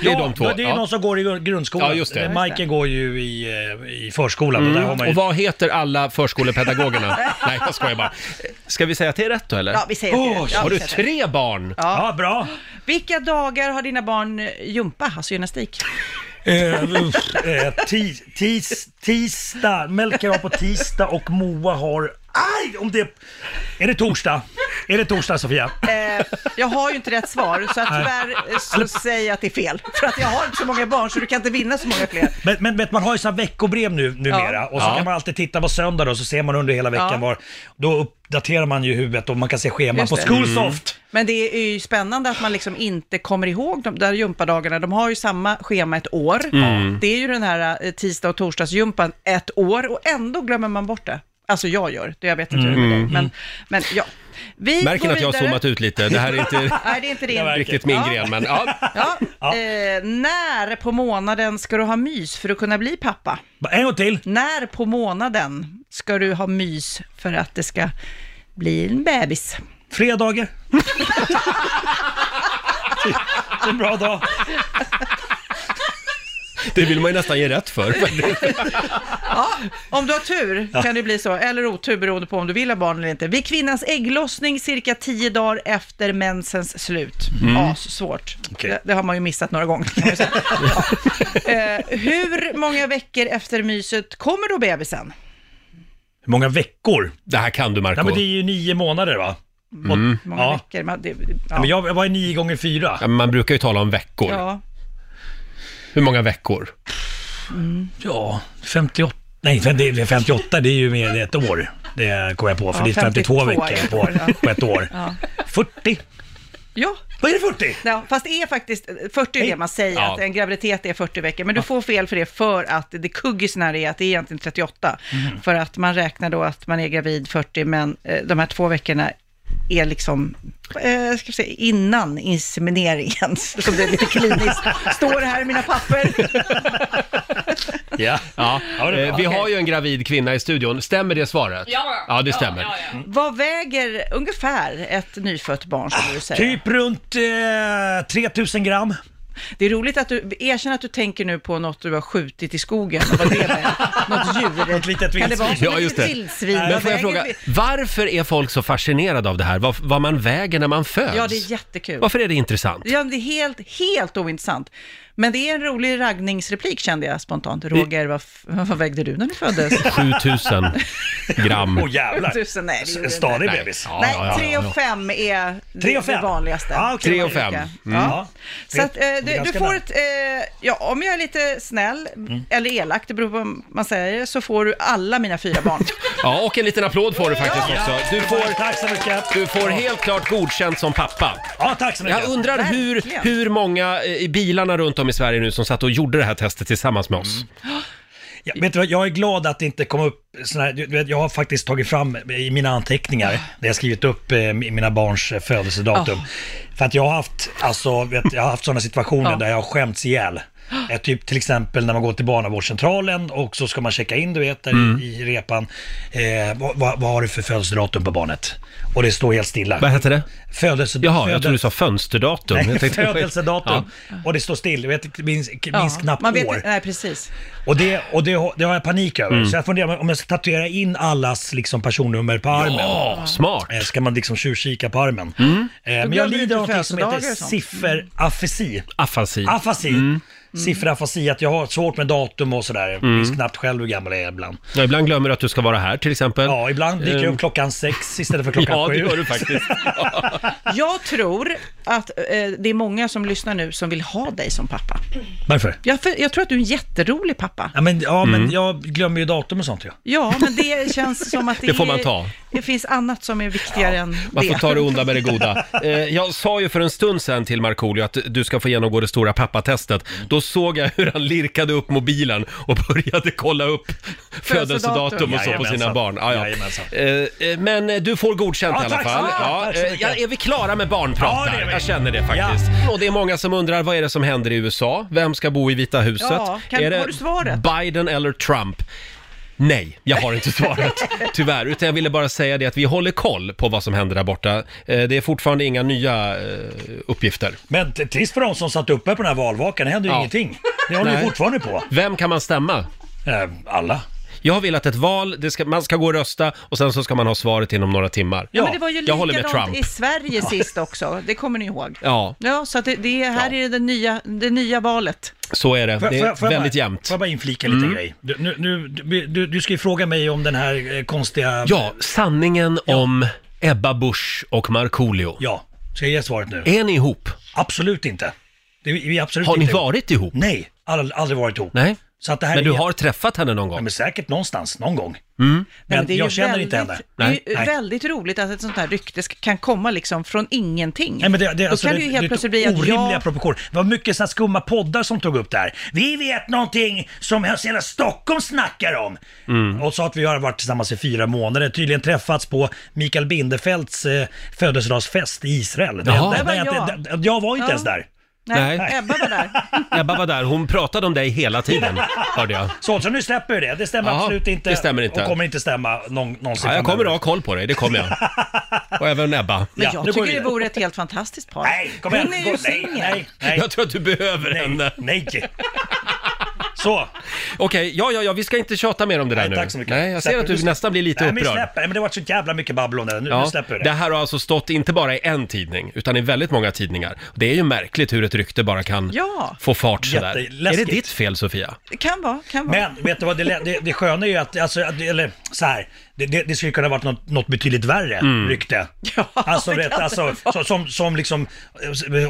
A: Det är de två.
I: Det är
A: ja.
I: någon som går i gru- grundskolan.
A: Ja, just det. Mm.
I: Eh, Majken går ju i, eh, i förskolan och där har man ju...
A: Och vad heter alla förskolepedagogerna? Nej, jag skojar bara. Ska vi säga att det är rätt då eller?
H: Ja, vi säger det.
I: Åh,
H: Ja, vi
A: Har du
H: säger det.
A: tre barn?
I: Ja, bra.
H: Vilka dagar har dina barn eh, jumpa, alltså gymnastik?
I: Eh, uff, eh, tis, tis, tisdag, Melker har på tisdag och Moa har... Aj! Om det... Är det torsdag? Är det torsdag Sofia?
H: Eh, jag har ju inte rätt svar, så att tyvärr eh, så säger jag att det är fel. För att jag har inte så många barn, så du kan inte vinna så många fler.
I: Men, men vet, man har ju sådana veckobrev nu, numera och så
A: Ja.
I: kan man alltid titta på söndag då, så ser man under hela veckan
H: Ja.
I: var... Då uppdaterar man ju huvudet och man kan se scheman
H: Just
I: på
H: det.
A: Mm.
I: Schoolsoft.
H: Men det är ju spännande att man liksom inte kommer ihåg de där gympadagarna. De har ju samma schema ett år.
A: Mm.
H: Det är ju den här eh, tisdag och torsdagsgympan ett år och ändå glömmer man bort det. Alltså jag gör, det jag vet inte hur det är med dig. Men, men ja. Vi
A: Mm. Märker
H: går
A: ni att jag har
H: vidare.
A: zoomat ut lite? Det här är inte
H: Nej, det är inte din.
I: Jag märker.
A: riktigt min
H: Ja.
A: gren, men ja.
H: Ja. Eh, när på månaden ska du ha mys för att kunna bli pappa?
I: Bara En gång till.
H: När på månaden ska du ha mys för att det ska bli en bebis?
I: Fredagar. det är en bra dag.
A: Det vill man ju nästan ge rätt för.
H: Om du har tur kan det bli så, eller otur beroende på om du vill ha barn eller inte. Vid kvinnans ägglossning cirka tio dagar efter mensens slut. Assvårt.
I: Mm. Okej.
H: Det, det har man ju missat några gånger kan man ju säga. ja. eh, hur många veckor efter myset kommer då bebisen?
I: Hur många veckor?
A: Det här kan du Marco.
I: Nej, men det är ju nio månader va?
H: Hur många
I: Ja.
H: veckor? Man, det,
I: Ja.
H: ja.
I: Men jag, jag var ju nio gånger fyra.
A: Mm. Ja, men Man brukar ju tala om veckor.
H: ja.
A: Hur många veckor?
I: Ja, 58. Nej, fem- det är 58 det är ju mer än ett år. Det kom jag på, för
H: Ja,
I: det är 52
H: 52
I: veckor
H: är det.
I: på, på ett år. 40?
H: ja.
I: Vad är det 40?
H: Ja, fast det är faktiskt eh, 40 är det man säger,
A: Ja.
H: att en graviditet är 40 veckor. Men du får fel för det för att det kuggisen här är att det är egentligen 38. För att man räknar då att man är gravid 40, men eh, de här två veckorna är liksom, eh, ska vi säga, innan insemineringen, som det är lite kliniskt. Står det här i mina papper.
I: Ja.
A: Ja.
I: Ja, det är
A: eh,
I: bra.
A: vi har ju en gravid kvinna i studion. Stämmer det svaret?
B: Ja,
A: Ja, det stämmer.
B: Ja, ja, ja.
H: Vad väger ungefär ett nyfött barn, som du säger?
I: Typ runt eh, 3000 gram.
H: Det är roligt att du erkänner att du tänker nu på något du har skjutit i skogen. Vad det är. Något djur.
I: Något litet
H: Kan det vara
I: vildsvin.
H: som
A: Ja,
H: ett
A: just det.
H: vildsvin?
A: Men
H: Vad
A: får jag
H: väger
A: fråga,
H: vi-
A: varför är folk så fascinerade av det här? Vad, vad man väger när man föds?
H: Ja, det är jättekul.
A: Varför är det intressant?
H: Ja, det är helt, helt ointressant. Men det är en rolig raggningsreplik kände jag spontant. Roger, vad, f- vad vägde du när du föddes?
A: 7000 gram.
I: Åh jävlar.
H: Tusen, nej, det gjorde
I: En
H: jag
I: stadig
A: Nej.
I: bebis.
A: Ja, ja, ja,
H: Nej,
A: ja,
H: tre
A: ja.
H: och fem är
I: Tre och
H: det
I: fem.
H: vanligaste.
I: Ja, okej.
A: Tre och fem.
H: Ja.
I: Ja.
H: Så att, eh,
I: Mm. Det är
H: du, du
I: ganska
H: får
I: nära. Mm.
H: ett, eh, ja, om jag är lite snäll eller elak, det beror på vad man säger, så får du alla mina fyra barn.
A: Ja, och en liten applåd får du faktiskt också. Du får,
I: Tack så mycket.
A: du får helt klart godkänt som pappa.
I: Ja, tack så mycket.
A: Jag undrar hur,
H: Verkligen.
A: hur många eh, i bilarna runt om i Sverige nu som satt och gjorde det här testet tillsammans med
I: Mm.
A: oss.
I: Ja, vet du vad, jag är glad att det inte kom upp såna här, du vet, jag har faktiskt tagit fram i mina anteckningar,
H: Ah.
I: där jag skrivit upp eh, mi- mina barns eh, födelsedatum. För att jag har haft, alltså, vet, jag har haft sådana situationer
H: Ah.
I: där jag har skämts ihjäl. Eh, typ till exempel när man går till barnavårdscentralen och så ska man checka in, du vet, där i-
A: Mm.
I: i repan. Eh, vad, vad, vad har du för födelsedatum på barnet? Och det står helt stilla.
A: Vad heter det?
I: Födelse,
A: Jaha, jag
I: födelse-
A: trodde du sa fönsterdatum. Jag
I: Nej,
A: tänkte-
I: födelsedatum. Och det står still, du vet, minst, minst knappt
H: man vet,
I: år.
H: Nej, precis.
I: Och, det, och det, har- det har jag panik över.
A: Mm.
I: Så jag funderar om jag ska tatuera in allas liksom, personnummer på armen.
A: Ja, Åh, smart! Mm.
I: Eh, Ska man liksom tjuvkika på armen. Eh, Men jag
H: glömmer du
I: lider
H: inte
I: av någonting som heter
H: födelsedagar och sånt. Mm.
I: sifferafasi.
A: Afasi.
I: Afasi.
A: Mm.
I: Sifferafasi, att jag har svårt med datum och sådär. Jag minns knappt själv hur gammal jag är ibland.
A: Ja, Ibland glömmer du att du ska vara här till exempel.
I: Ja, ibland dyker jag
A: Ehm.
I: upp klockan sex istället för klockan
A: Ja, det
I: sju.
A: gör du faktiskt.
H: Jag tror att eh, det är många som lyssnar nu som vill ha dig som pappa.
I: Varför?
H: Jag, för, jag tror att du är en jätterolig pappa.
I: Ja, men, ja,
A: Mm.
I: men jag glömmer ju datum och sånt ju.
H: Ja, men det känns som att det,
A: Det får man
H: är-
A: ta.
H: Det finns annat som är viktigare än
A: Man
H: det.
A: får ta det onda med det goda. Eh, jag sa ju för en stund sedan till Markoolio att du ska få genomgå det stora pappatestet.
I: Mm.
A: Då såg jag hur han lirkade upp mobilen och började kolla upp födelsedatum och så på
I: Jajamensan.
A: sina barn. Ah, ja.
I: Jajamensan.
A: Eh, eh, Men eh, du får godkänt
I: Ja,
A: i alla
I: tack så
A: fall.
I: mycket.
A: Ja,
I: Tack så
A: eh,
I: mycket.
A: ja, är vi klara med barnprat
I: Ja, det
A: där?
I: är vi.
A: Jag känner det faktiskt. Och det är många som undrar, vad är det som händer i USA? Vem ska bo i Vita huset?
H: Ja, kan-
A: är det
H: har du svaret?
A: Biden eller Trump? Nej, jag har inte svaret. Tyvärr, utan jag ville bara säga det att vi håller koll på vad som händer där borta. Eh, Det är fortfarande inga nya eh, uppgifter.
I: Men t- trist för de som satt uppe på den här valvakan, det hände ju
A: Ja.
I: ingenting. Det håller
A: Nej.
I: ju fortfarande på.
A: Vem kan man stämma?
I: Eh, alla.
A: Jag vill att ett val, det ska, man ska gå och rösta och sen så ska man ha svaret inom några timmar.
H: Ja, men det var ju
A: jag håller med
H: likadant
A: Trump.
H: i Sverige sist också, det kommer ni ihåg.
A: Ja,
H: Ja, så att det, det är- här är det nya, det nya valet.
A: så är det.
I: Får-
A: Det
I: får- får
A: är
I: jag
A: väldigt jämnt.
I: bara,
A: Mm.
I: Får jag bara inflika en liten grej? Du, nu, nu, du, du, du ska ju fråga mig om den här eh, konstiga...
A: Ja, sanningen om Ebba Busch och Markoolio.
I: Ja. Ska jag ge svaret nu?
A: Är ni ihop?
I: Absolut inte. Det, vi är absolut
A: Eh. Har ni
I: inte ihop.
A: varit ihop?
I: Nej, all, aldrig varit ihop.
A: Nej.
I: Så att det här
A: Men du
I: är helt-
A: har Mm. träffat henne någon
I: Ja,
A: gång?
I: men säkert någonstans, någon gång. Men,
H: Nej, men det är ju
I: jag känner
H: väldigt,
I: inte henne.
H: Det är
A: Nej,
H: ju
I: nej.
H: väldigt roligt att ett sånt här rykte ska- kan komma liksom från ingenting.
I: Nej, men det, det,
H: Då kan det ju helt plötsligt bli att
I: orimliga
H: jag...
I: proportioner. Det var mycket sådana skumma poddar som tog upp det här. Vi vet någonting som hela Stockholm snackar om.
A: Mm.
I: Och sa att vi har varit tillsammans i fyra månader, tydligen träffats på Mikael Bindefelds eh, födelsedagsfest i Israel. Det
A: Jaha.
I: enda-
A: Där
H: var
I: det-
H: jag.
I: det- jag var inte
H: Ja.
I: ens där.
H: Nej,
A: Nej.
H: Ebba var där.
A: Ebba var där, hon pratade om dig hela tiden, hörde jag.
I: Så, så nu släpper vi det. Det stämmer
A: Jaha,
I: absolut inte.
A: det stämmer inte.
I: Och kommer inte stämma någon, någonsin.
A: Ja, jag kommer
I: framöver.
A: att ha koll på dig, det kommer jag. Och även Ebba.
H: Men
I: Ja,
H: jag
I: nu går vi
H: tycker det
I: vidare.
H: vore ett helt fantastiskt par.
I: Nej, kom igen.
H: Hon är
I: Gå-
H: ju
I: nej,
H: singel.
I: nej, nej,
A: Jag tror att du behöver henne.
I: nej, nej. Så,
A: Okej, ja, ja, ja, vi ska inte tjata mer om det där
I: Nej,
A: nu.
I: tack så mycket.
A: Nej, jag ser
I: Släpper
A: att du
I: du-
A: nästan blir lite
I: Nej, men
A: upprörd.
I: släpp det. Men det har varit så jävla mycket babbel om det. här. Nu, nu
A: Ja,
I: släpper vi
A: det
I: det.
A: här har alltså stått inte bara i en tidning, utan i väldigt många tidningar. Det är ju märkligt hur ett rykte bara kan
H: Ja.
A: få fart sådär. Är det
I: Jätteläskigt.
A: ditt fel, Sofia?
H: Det kan vara, kan vara.
I: Men vet du vad, det, lä- det, det sköna är ju att, alltså, att eller så här, det, det, det skulle kunna varit något, något betydligt värre
A: Mm.
I: rykte.
H: Ja,
I: alltså,
H: det
I: rätt,
H: kan det
I: alltså
H: vara.
I: så, som, som liksom,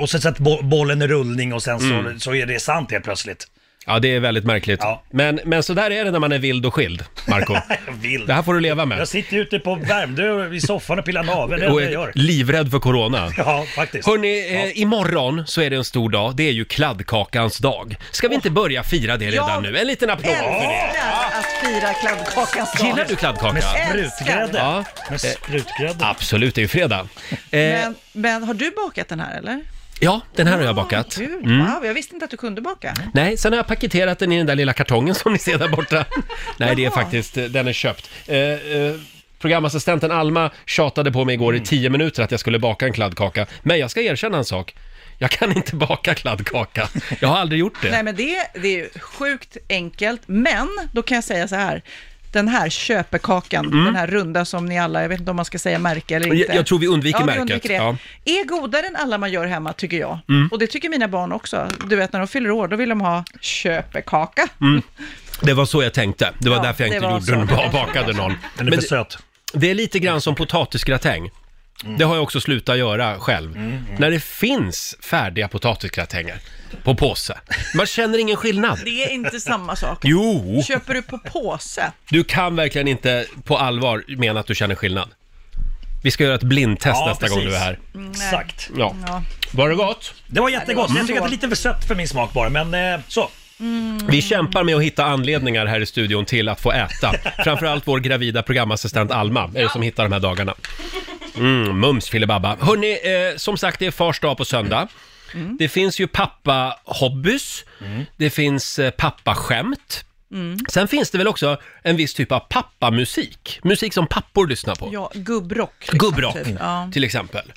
I: och sen sätter bo- bollen i rullning och sen så,
A: Mm.
I: så är det sant helt plötsligt.
A: Ja, det är väldigt märkligt.
I: Ja.
A: Men, men sådär är det när man är vild och skild, Marco
I: Jag vill.
A: Det här får du leva med.
I: Jag sitter ute på Värmdö i soffan och pillar naveln, det är
A: Och
I: det jag
A: är
I: gör.
A: livrädd för corona.
I: Ja, faktiskt.
A: Hörni, eh, imorgon så är det en stor dag. Det är ju kladdkakans dag. Ska vi inte börja fira det redan
H: Ja.
A: nu? En liten applåd för det.
H: Älskar att fira kladdkakans dag.
A: Gillar du kladdkaka?
I: Med
H: Älskar.
I: sprutgrädde.
A: Ja.
I: Med sprutgrädde.
A: Absolut, det är ju fredag. Eh,
H: Men, men har du bakat den här eller?
A: ja, den här har jag bakat.
H: Gud, wow, jag visste inte att du kunde baka.
A: Mm. Nej, sen har jag paketerat den i den där lilla kartongen som ni ser där borta. Nej, det är
H: Jaha.
A: faktiskt, eh, den är köpt. Eh, eh, programassistenten Alma tjatade på mig igår
H: Mm.
A: i tio minuter att jag skulle baka en kladdkaka. Men jag ska erkänna en sak. Jag kan inte baka kladdkaka. Jag har aldrig gjort det.
H: Nej, men det, det är ju sjukt enkelt, men då kan jag säga så här. Den här köpekakan, den här runda som ni alla, jag vet inte om man ska säga märke eller
A: Jag-
H: inte.
A: Mm. jag tror vi undviker
H: ja,
A: märket,
H: Vi undviker det.
A: ja. Mm.
H: Är godare än alla man gör hemma, tycker jag. Och det tycker mina barn också. Du vet, när de fyller år, då vill de ha köpekaka.
A: Mm. Det var så jag tänkte. Det var
H: Ja,
A: därför jag
H: det
A: inte
H: var så.
A: gjorde den, bakade någon.
I: Den är
A: Men
I: för söt.
A: det är lite grann som potatisgratäng. Det har jag också slutat göra själv. När det finns färdiga potatisgratänger på påse. Man känner ingen skillnad.
H: Det är inte samma sak.
A: Jo,
H: Köper du på påse?
A: du kan verkligen inte på allvar mena att du känner skillnad. Vi ska göra ett blindtest nästa gång du är här.
I: Exakt.
A: Ja. Var det gott?
I: Det var jättegott. Jag tycker att det är lite för sött för min smak bara, men eh, så.
A: Vi kämpar med att hitta anledningar här i studion till att få äta. Framförallt vår gravida programassistent Alma är det som hittar de här dagarna. Mm, mums filibabba. Hörni, eh, som sagt det är fars dag på söndag. Det finns ju pappa-hobbys. Det finns eh, pappa-skämt. Sen finns det väl också en viss typ av pappamusik. Musik som pappor lyssnar på.
H: Ja, gubbrock. liksom,
A: Gubbrock, Mm.
H: typ. Ja.
A: till exempel.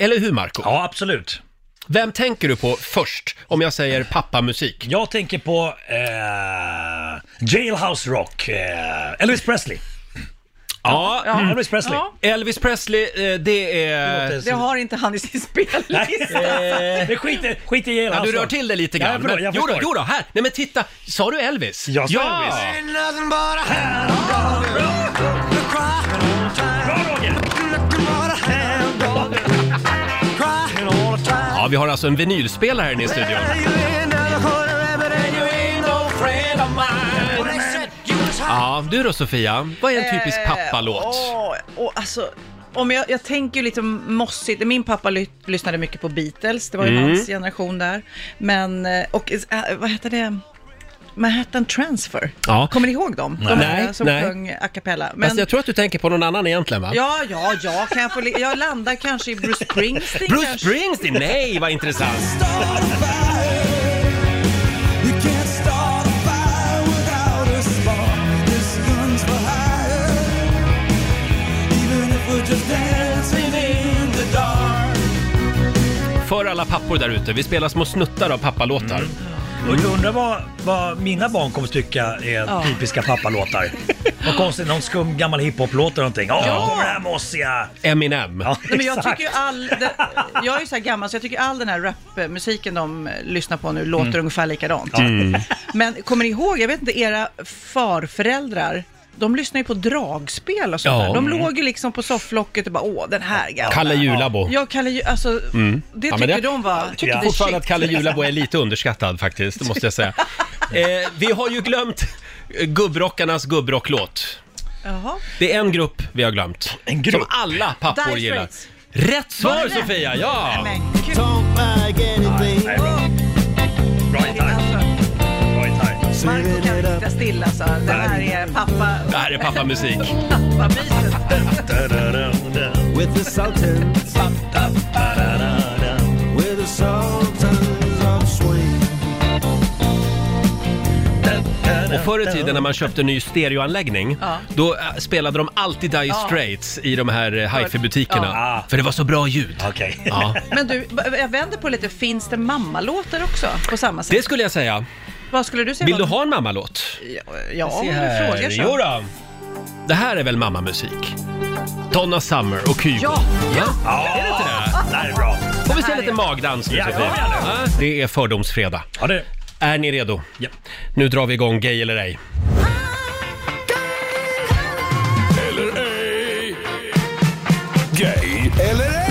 A: Eller hur, Marco?
I: Ja, absolut.
A: Vem tänker du på först om jag säger pappamusik?
I: Jag tänker på eh, Jailhouse Rock, eh, Elvis Presley. Mm.
A: Ja, mm.
H: Ja.
I: Elvis Presley.
H: Ja.
A: Elvis Presley, eh, det är...
I: Det,
H: Det har inte han i sin spellista.
I: men skit, i- skit i
A: Ja,
I: Jailhouse
A: du rör
I: Rock.
A: till det lite
I: Alltså- Ja,
A: grann.
I: jag förstår,
A: men-
I: jag
A: jo, då,
I: förstår.
A: jo då, här! Nej men titta! Sa du Elvis?
I: Jag sa
A: ja.
I: Elvis. Bra Roger!
A: vi har alltså en vinylspelare här inne i studion. Ja, du då Sofia, vad är en typisk pappalåt?
H: Eh, Åh, och alltså, om jag, jag tänker ju lite mossigt. Min pappa ly- lyssnade mycket på Beatles, det var
A: Mm.
H: ju hans generation där. Men, eh, och eh, vad heter det? Manhattan Transfer.
A: Ja.
H: Kommer ni ihåg dem? De
A: Nej,
H: här som
A: nej.
H: sjöng a cappella. Men,
A: Fast Alltså, jag tror att du tänker på någon annan egentligen va?
H: Ja, ja, ja, kan jag få... li- Jag landar kanske i Bruce Springsteen
A: Bruce
H: kanske.
A: Springsteen, nej vad intressant! För alla pappor där ute, vi spelar små snuttar av pappalåtar.
I: Och jag undrar vad, vad mina barn kommer att tycka är typiska pappalåtar. vad konstigt, någon skum gammal hiphop-låt eller någonting. Åh, ja. kommer det här mossiga!
A: Eminem.
I: Ja,
H: Nej, men jag
I: exakt.
H: tycker ju all, det, jag är ju så här gammal så jag tycker all den här rapmusiken de eh, lyssnar på
A: Mm.
H: nu låter ungefär likadant. Men kommer ni ihåg, jag vet inte, era farföräldrar, de lyssnar ju på dragspel och sånt
A: Ja. Mm.
H: där. De låg ju liksom på sofflocket och bara åh den här gamla.
A: Kalle Julabo.
H: Ja, Kalle Ju- alltså det
A: Ja, men
H: tycker
A: det-
H: de var...
A: Jag tycker
I: Ja.
H: the
A: fortfarande
H: shit.
A: att Kalle Julabo är lite underskattad faktiskt, det måste jag säga. Eh, vi har ju glömt eh, gubbrockarnas gubbrocklåt.
H: Jaha.
A: Det är en grupp vi har glömt.
I: En grupp?
A: Som alla pappor
H: Dire
A: gillar.
H: Straits.
A: Rätt
H: Var
A: svar
H: det rätt?
A: Sofia, ja!
H: Men gud,
I: Bra gitarr,
H: alltså,
I: bra gitarr.
H: Marco kan inte sitta stilla så det här är pappa...
A: Det här är pappamusik.
H: Pappa-biten.
A: Och förr i tiden när man köpte ny stereoanläggning,
H: Ja.
A: då eh, spelade de alltid Dire Straits i de här eh, hifi-butikerna.
I: Ja.
A: För det var så bra ljud.
I: Okej.
A: Ja.
H: Men du, b- jag vänder på lite, finns det mammalåtar också på samma sätt?
A: Det skulle jag säga.
H: Vad skulle du säga?
A: Vill du
H: var-
A: ha en mammalåt?
H: Ja, om du frågar så.
A: Jo då. Det här är väl mammamusik? Donna Summer och Kygo.
H: Ja.
A: ja.
I: Ja, är det inte det? Det här är bra.
A: Får vi se lite magdans nu
I: Ja,
A: Sofia?
I: kom igen nu.
A: Ja. Det är fördomsfredag.
I: Ja, det...
A: Är ni redo?
I: Ja.
A: Nu drar vi igång Gay eller ej.
C: Gay eller ej?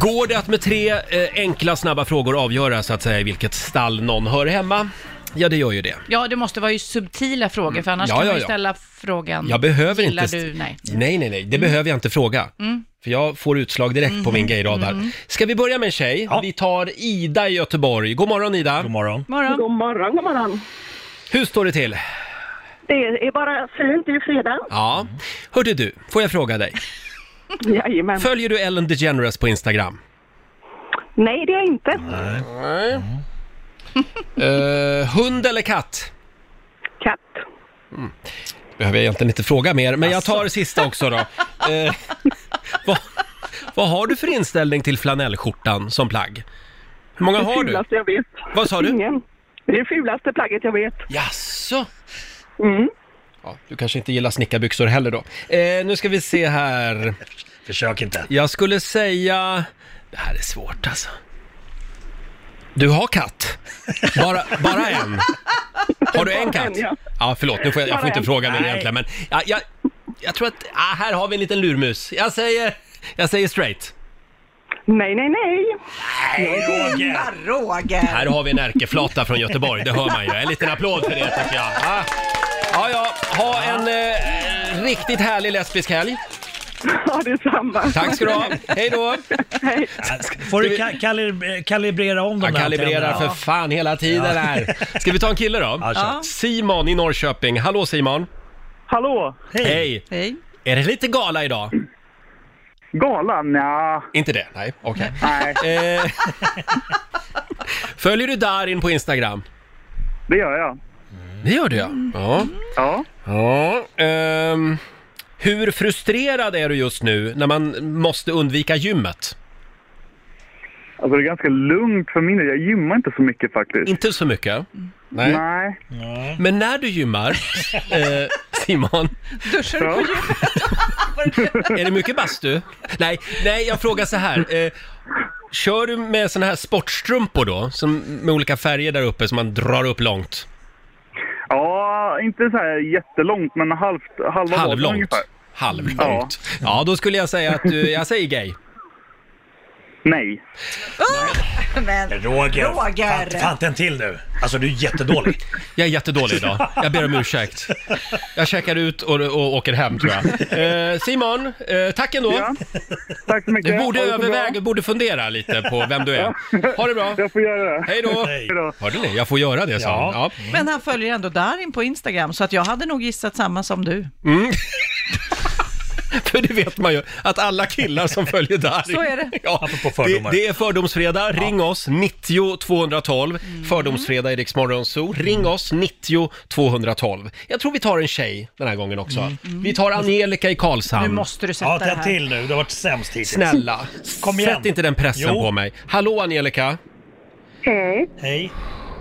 A: Går det att med tre eh, enkla snabba frågor avgöra så att säga i vilket stall någon hör hemma? Ja, det gör ju det.
J: Ja, det måste vara ju subtila frågor, för annars
A: Mm. Ja,
J: kan
A: ja,
J: man ju
A: ja.
J: ställa frågan.
A: Jag behöver
J: gillar
A: inte...
J: du? Nej. Mm.
A: nej, nej, nej. Det behöver jag inte fråga. För jag får utslag direkt på
J: Mm-hmm.
A: min gayradar. Ska vi börja med en tjej?
I: Ja.
A: Vi tar Ida i Göteborg. God morgon Ida!
I: God morgon.
J: Morgon.
G: God morgon, god morgon.
A: Hur står det till?
G: Det är bara fint, det är ju fredag.
A: Ja. Hörde du, får jag fråga dig?
G: Jajamän.
A: Följer du Ellen DeGeneres på Instagram?
G: Nej, det är jag inte.
A: Eh, hund eller katt?
G: Katt.
A: Behöver jag egentligen inte fråga mer, men jag tar sista också då. Eh, vad, vad har du för inställning till flanellskjortan som plagg? Hur många
G: det
A: har du?
G: fulaste jag vet.
A: Vad sa du?
G: Ingen. Det är det fulaste plagget jag vet.
A: Jaså? Ja, du kanske inte gillar snickarbyxor heller då. Eh, nu ska vi se här.
I: Försök inte.
A: Jag skulle säga... Det här är svårt alltså. Du har katt? Bara, bara en? Har du en katt?
G: en, ja.
A: Ja, förlåt, nu får jag, jag får
G: Bara
A: inte
G: en.
A: fråga mer egentligen, men ja, jag, jag tror att, ah, här har vi en liten lurmus. Jag säger, jag säger straight.
G: Nej, nej, nej.
I: Roger!
H: Roger!
A: Här har vi en ärkeflata från Göteborg, det hör man ju. En liten applåd för det tycker jag. Ja, ja, ja. ha en eh, riktigt härlig lesbisk helg.
G: Ja, det är samma.
A: Tack ska du ha. Hej då!
G: Hej.
I: Får du
A: vi-
I: ka- kalib- kalibrera om de
A: Man
I: där
A: kalibrerar
I: antennerna?
A: för fan hela tiden här. Ska vi ta en kille då?
I: Ja, kör. Ja.
A: Simon i Norrköping. Hallå Simon!
G: Hallå?
A: Hej!
H: Hej.
A: Är det lite gala idag?
G: Galan? Ja.
A: Inte det? Nej, okej.
G: Nej,
A: Eh, Följer du Darin på Instagram?
G: det gör jag.
A: Det gör du ja. Ja.
G: Ja.
A: ja. ehm, hur frustrerad är du just nu när man måste undvika gymmet?
G: Alltså det är ganska lugnt för min del. Jag gymmar inte så mycket faktiskt.
A: Inte så mycket? Nej.
G: Nej.
A: Men när du gymmar, eh, Simon,
H: Duschar du på gym?
A: Är det mycket bastu? Nej, nej jag frågar så här. Eh, kör du med såna här sportstrumpor då? Som, med olika färger där uppe som man drar upp långt?
G: Ja, inte så här jättelångt, men halvt, halva dagen
A: Halvlångt.
G: ungefär.
A: Halvlångt. Ja, då skulle jag säga att du, jag säger gay.
G: Nej.
K: Men,
I: Roger,
K: Roger.
I: Fan, fanten till nu. Alltså du är jättedålig.
A: Jag är jättedålig idag. Jag ber om ursäkt. Jag checkar ut och, och åker hem tror jag. Eh, Simon, eh, tack ändå.
G: Tack så mycket.
A: Du borde
G: Ha det så bra.
A: överväga, borde fundera lite på vem du är. Ha det bra.
G: Jag får göra det.
A: Hej då. Hej då. Hörde ni? Jag får göra det, sa han. Ja.
H: Men han följer ändå Darin på Instagram, så att jag hade nog gissat samma som du.
A: Mm. För det vet man ju, att alla killar som följer Darin...
H: Så är det.
A: Ja,
I: Apropå
A: det,
I: fördomar.
A: det är Fördomsfredag, ring oss, 90 212. Fördomsfredag i Rix Morgon Zoo, ring oss, 90 212. Jag tror vi tar en tjej den här gången också. Vi tar Angelica i Karlshamn.
I: ja, tänd till nu. Det har varit sämst hittills.
A: Snälla,
I: Kom igen.
A: sätt inte den pressen
I: Jo.
A: på mig. Hallå Angelica!
L: Hej.
I: Hej.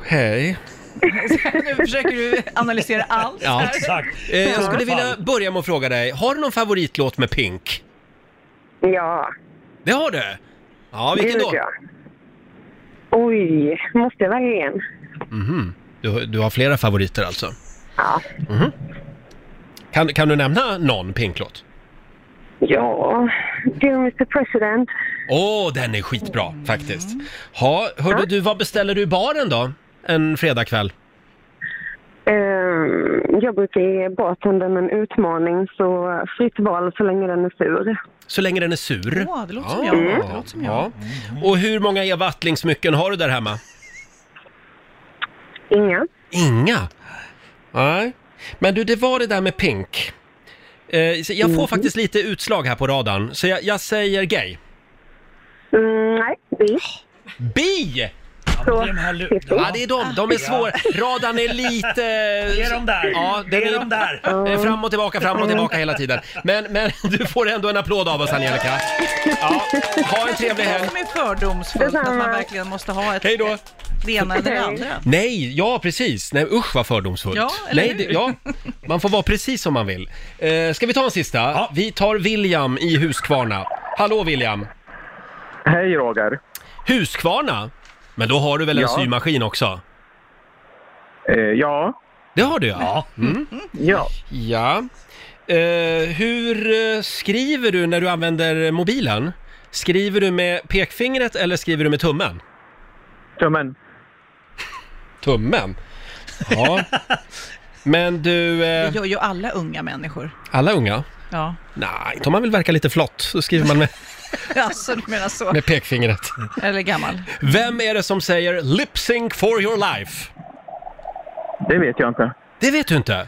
A: Hej.
H: nu försöker du analysera allt
A: Ja,
H: här.
A: Eh, jag skulle vilja börja med att fråga dig, har du någon favoritlåt med Pink?
L: Ja.
A: Det har du? Ja, vilken
L: Gud,
A: då?
L: ja. Oj, måste jag verkligen?
A: Mhm. Du, du har flera favoriter alltså?
L: Ja.
A: Mhm. Kan, kan du nämna någon Pink-låt?
L: Ja, Dear Mr President.
A: Åh, den är skitbra faktiskt. Ha, hörde du, vad beställer du i baren då? En fredagkväll?
L: Ehm, jag brukar ge bartendern en utmaning, så fritt val så länge den är sur.
A: Så länge den är sur?
L: Åh, det låter
A: Ja,
L: som jag. Det låter som
A: ja. Och hur många Eva Attling-smycken har du där hemma?
L: Inga.
A: Inga? Nej. Men du, det var det där med Pink. Eh, så jag får
L: Mhm.
A: faktiskt lite utslag här på radarn, så jag, jag säger gay.
L: Mm, nej, bi.
A: Bi!
L: Så,
A: Ja, det är de. De är svåra. Radarn är lite... Det är de
I: där.
A: Ja,
I: Det är de där.
A: Eh, Fram och tillbaka, fram och tillbaka hela tiden. Men, men du får ändå en applåd av oss, Angelica. Ja, ha en trevlig helg.
H: Det är fördomsfullt att man verkligen måste ha ett...
A: Hej då!
H: Det ena eller det andra.
A: Nej, ja precis. Nej, usch vad fördomsfullt.
H: Ja, eller
A: Nej,
H: hur?
A: ja, man får vara precis som man vill. Eh, ska vi ta en sista? Vi tar William i Huskvarna. Hallå William!
M: Hej Roger!
A: Huskvarna? Men då har du väl en
M: Ja. Eh,
A: symaskin också?
M: ja.
A: Det har du ja. Mm.
M: Ja.
A: Ja. Eh, hur eh, skriver du när du använder mobilen? Skriver du med pekfingret eller skriver du med tummen?
M: Tummen.
A: Tummen? Ja. Men du...
H: Det
A: eh,
H: gör ju alla unga människor.
A: alla unga?
H: Ja.
A: Nej, inte om man vill verka lite flott så skriver man med,
H: Alltså, du menar så.
A: med pekfingret.
H: Eller gammal.
A: Vem är det som säger lip sync for your life?
M: Det vet jag inte.
A: Det vet du
I: Mm.
A: inte?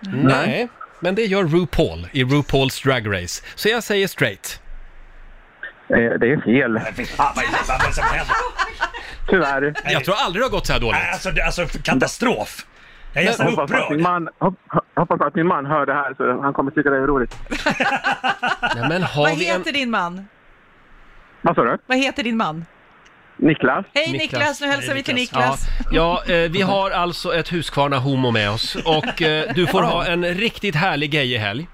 A: Nej. Men det gör RuPaul i RuPaul's Drag Race. Så jag säger straight.
M: det är fel.
I: Fan, vad är det- vad är det som händer?
M: Tyvärr.
A: Jag tror aldrig det har gått så här dåligt.
I: Alltså, det- alltså katastrof. Jag är nästan
M: hoppas, att min
I: upprörd.
M: man, hop, hoppas att min man hör det här så han kommer tycka det är roligt.
A: Nej, men har
H: Vad
A: vi
H: heter
A: en...
H: din man?
M: Vad sa du?
H: Vad heter din man?
M: Niklas?
H: Hej Niklas, nu hälsar vi till Niklas.
A: Ja, ja eh, vi har alltså ett Huskvarna Homo med oss och eh, du får ha en riktigt härlig gay i helg.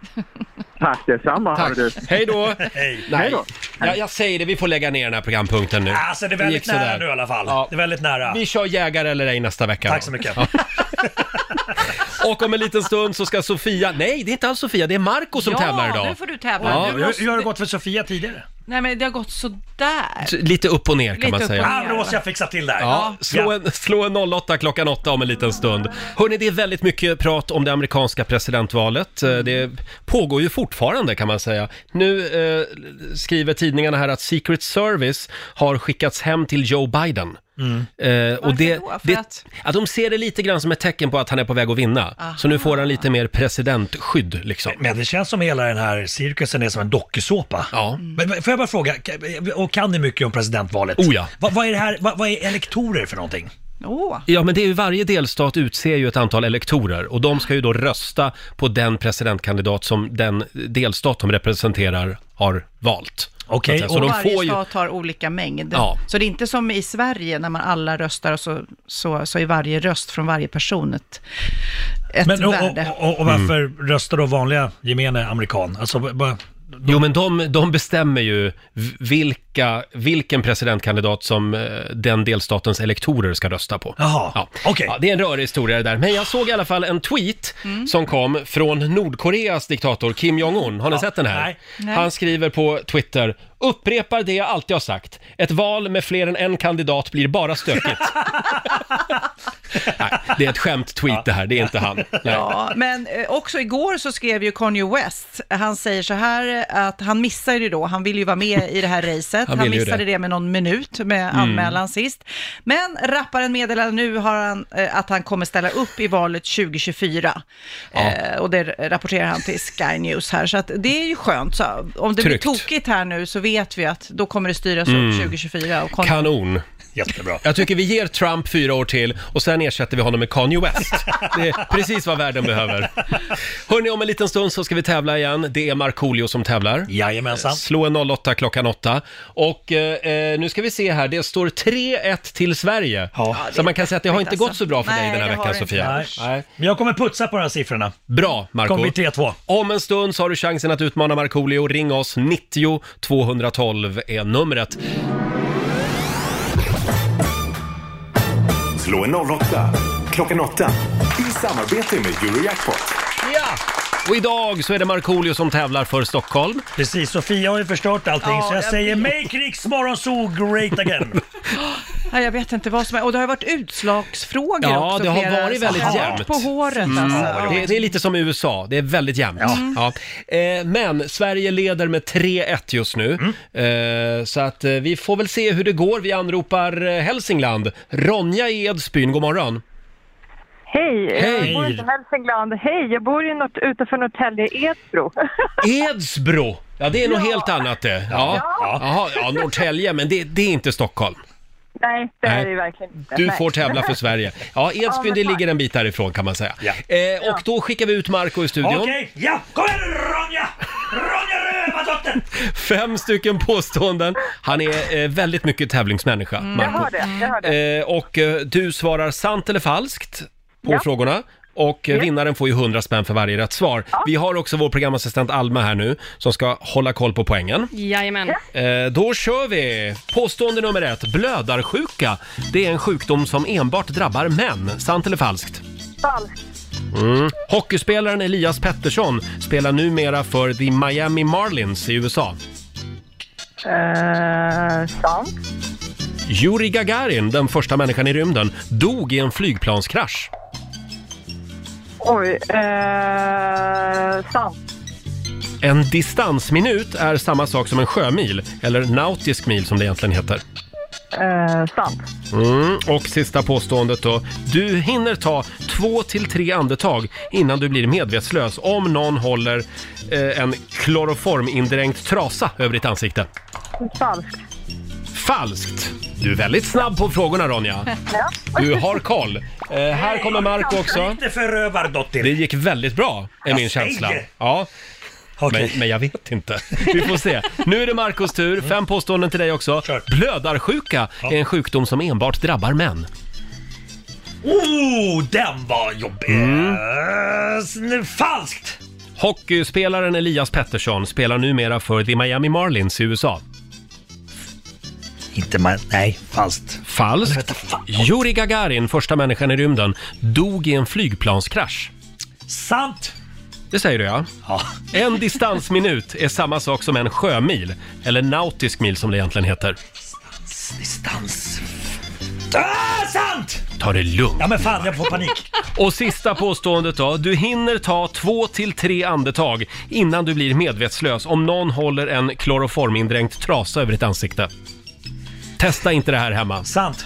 M: Tack detsamma.
A: Tack.
M: hördu.
A: Hej då!
I: Hej.
A: Nej, jag, jag säger det, vi får lägga ner den här programpunkten nu.
I: Alltså det är väldigt
A: gick sådär.
I: nära nu i alla fall.
A: Ja.
I: Det är väldigt nära.
A: Vi kör jägare eller ej nästa vecka.
I: Tack
A: då.
I: så mycket.
A: Ja. Och om en liten stund så ska Sofia, nej det är inte alls Sofia, det är Marco som
J: Ja,
A: tävlar idag.
J: nu får du tävla.
A: Ja,
J: Du
A: hur-
J: måste-
A: hur har
I: det gått för Sofia tidigare?
J: Nej men det har gått sådär.
A: T- Lite upp och ner kan
J: Lite
A: man
J: upp
A: säga.
J: och ner, Ah, då
I: måste jag fixa till där.
A: Ja, slå, en, slå en 08 klockan 8 om en liten stund. Hörni, det är väldigt mycket prat om det amerikanska presidentvalet. Eh, Det pågår ju fortfarande kan man säga. Nu eh, skriver tidningarna här att Secret Service har skickats hem till Joe Biden. Eh, och det,
H: Mm. då? För
A: det,
H: att-
A: ja, de ser det lite grann som ett tecken på att han är på väg att vinna. Så nu får han lite mer presidentskydd liksom.
I: Men det känns som hela den här cirkusen är som en dokusåpa.
A: Ja.
I: Men, men får jag bara fråga, kan- och kan ni mycket om presidentvalet?
A: Oh ja.
I: Vad, vad är det här, vad, vad är elektorer för någonting?
H: Åh.
A: Ja, men det är ju varje delstat utser ju ett antal elektorer och de ska ju då rösta på den presidentkandidat som den delstat de representerar har valt.
I: Okej,
A: Så att
H: och
A: säga. så de
H: varje
A: får ju...
H: stat har olika mängd.
A: Ja.
H: Så det är inte som i Sverige när man alla röstar och så, så, så är varje röst från varje person ett, ett
I: Men, och,
H: värde.
I: och, och, och varför röstar då vanliga gemene amerikan? Alltså, bara,
A: Jo, men de, de bestämmer ju v- vilk, vilka, vilken presidentkandidat som eh, den delstatens elektorer ska rösta på.
I: Jaha,
A: ja. Ja, det är en rörig historia det där. Men jag såg i alla fall en tweet som kom från Nordkoreas diktator Kim Jong-Un. Har ni sett den här?
I: nej. Nej.
A: Han skriver på Twitter, upprepar det jag alltid har sagt. Ett val med fler än en kandidat blir bara stökigt. nej, det är ett skämt-tweet det här, det är inte han. Nej.
H: Ja, men eh, också igår så skrev ju Kanye West, han säger så här eh, att han missade ju då, han ville ju vara med i det här racet,
A: Han
H: han,
A: ville ju
H: missade
A: det.
H: det. med någon minut med
A: Mm.
H: anmälan sist. Men rapparen meddelar nu har han, eh, att han kommer ställa upp i valet 2024. Eh, och det rapporterar han till Sky News här, så att det är ju skönt. Så om det
A: Tryggt.
H: blir tokigt här nu så vet vi att då kommer det styras
A: Mm.
H: upp 2024. Och Kanye-
A: Kanon. Jättebra. Jag tycker vi ger Trump fyra år till och sen ersätter vi honom med Kanye West. Det är precis vad världen behöver. Hörni, om en liten stund så ska vi tävla igen. Det är Markoolio som tävlar.
I: Jajamensan.
A: Eh, Slå en 08 klockan 8. Och eh, eh, nu ska vi se här, det står 3-1 till Sverige. Så man kan säga att det har inte gått så bra för dig den här veckan Sofia.
I: Nej. Men jag kommer putsa på de här siffrorna.
A: Bra, Marco.
I: Kommer bli 3-2.
A: Om en stund så har du chansen att utmana Markoolio. Ring oss, 90 212 är numret.
C: Slå en 08 klockan 8 i samarbete med Eurojackpot.
A: Ja! Och idag så är det Markoolio som tävlar för Stockholm.
I: Precis, Sofia har ju förstört allting
H: Ja,
I: så jag,
H: jag
I: säger
H: vet.
I: “Make Riks Morgonzoo great again”.
H: Ja, jag vet inte vad som är, och det har varit utslagsfrågor
A: Ja,
H: också.
A: det har
H: flera
A: varit väldigt
H: saker.
A: jämnt.
H: på håret
A: Mm.
H: alltså. Ja.
A: Det, det är lite som i USA, det är väldigt jämnt. Ja.
H: Mm.
A: Eh, men Sverige leder med 3-1 just nu. Eh, så att eh, vi får väl se hur det går. Vi anropar eh, Hälsingland. Ronja i Edsbyn, god morgon.
N: Hej!
A: Hej.
N: Jag bor inte i Hälsingland. Hej! Jag bor i något utanför Norrtälje, Edsbro.
A: Edsbro! Ja, det är något helt annat det. Ja, ja. Jaha, ja Norrtälje, men det, det är inte Stockholm.
N: Nej, det är
A: Nej.
N: det ju verkligen inte.
A: Du
N: Nej.
A: får tävla för Sverige. Ja,
N: Ja,
A: Edsbyn,
N: men
A: det
N: tack.
A: ligger en bit därifrån kan man säga. Eh, och då skickar vi ut Marco i studion.
I: Okej, ja! Kom igen Ronja!
A: Fem stycken påståenden. Han är eh, väldigt mycket tävlingsmänniska,
N: Mm. Jag
A: Marco.
N: hör det, jag hör det.
A: Eh, och eh, du svarar sant eller falskt på
N: Ja.
A: frågorna. Och eh,
N: Ja.
A: vinnaren får ju 100 spänn för varje rätt svar. Vi har också vår programassistent Alma här nu som ska hålla koll på poängen.
E: Jajamän.
A: Eh, då kör vi! Påstående nummer ett. Blödarsjuka, det är en sjukdom som enbart drabbar män. Sant eller falskt?
N: Falskt.
A: Mm. Hockeyspelaren Elias Pettersson spelar numera för The Miami Marlins i USA.
N: Eh, sant.
A: Yuri Gagarin, den första människan i rymden, dog i en flygplanskrasch.
N: Oj. Eh, sant.
A: En distansminut är samma sak som en sjömil, eller nautisk mil som det egentligen heter.
N: Eh, sant.
A: Mm. Och sista påståendet då. Du hinner ta två till tre andetag innan du blir medvetslös om någon håller eh, en kloroformindränkt trasa över ditt ansikte.
N: Falskt.
A: Falskt! Du är väldigt snabb på frågorna Ronja.
N: Ja.
A: Du har koll. Eh, här kommer Marco också.
I: Lite förövardotter.
A: Det gick väldigt bra, är min
I: Jag
A: känsla.
I: säger.
A: Ja. Men, men jag vet inte. Vi får se. Nu är det Marcos tur. Fem påståenden till dig också. Blödarsjuka är en sjukdom som enbart drabbar män.
I: Oh, den var jobbig!
A: Mm.
I: Eh, sn- Falskt!
A: Hockeyspelaren Elias Pettersson spelar numera för The Miami Marlins i USA.
I: Inte man, nej, falskt.
A: Falskt. Yuri Gagarin, första människan i rymden, dog i en flygplanskrasch.
I: Sant!
A: Det säger du ja. En distansminut är samma sak som en sjömil, eller nautisk mil som det egentligen heter.
I: Distans. Ah, sant!
A: Ta det lugnt.
I: Ja men fan, jag får panik.
A: Och sista påståendet då. Du hinner ta två till tre andetag innan du blir medvetslös om någon håller en kloroformindränkt trasa över ditt ansikte. Testa inte det här hemma.
I: Sant.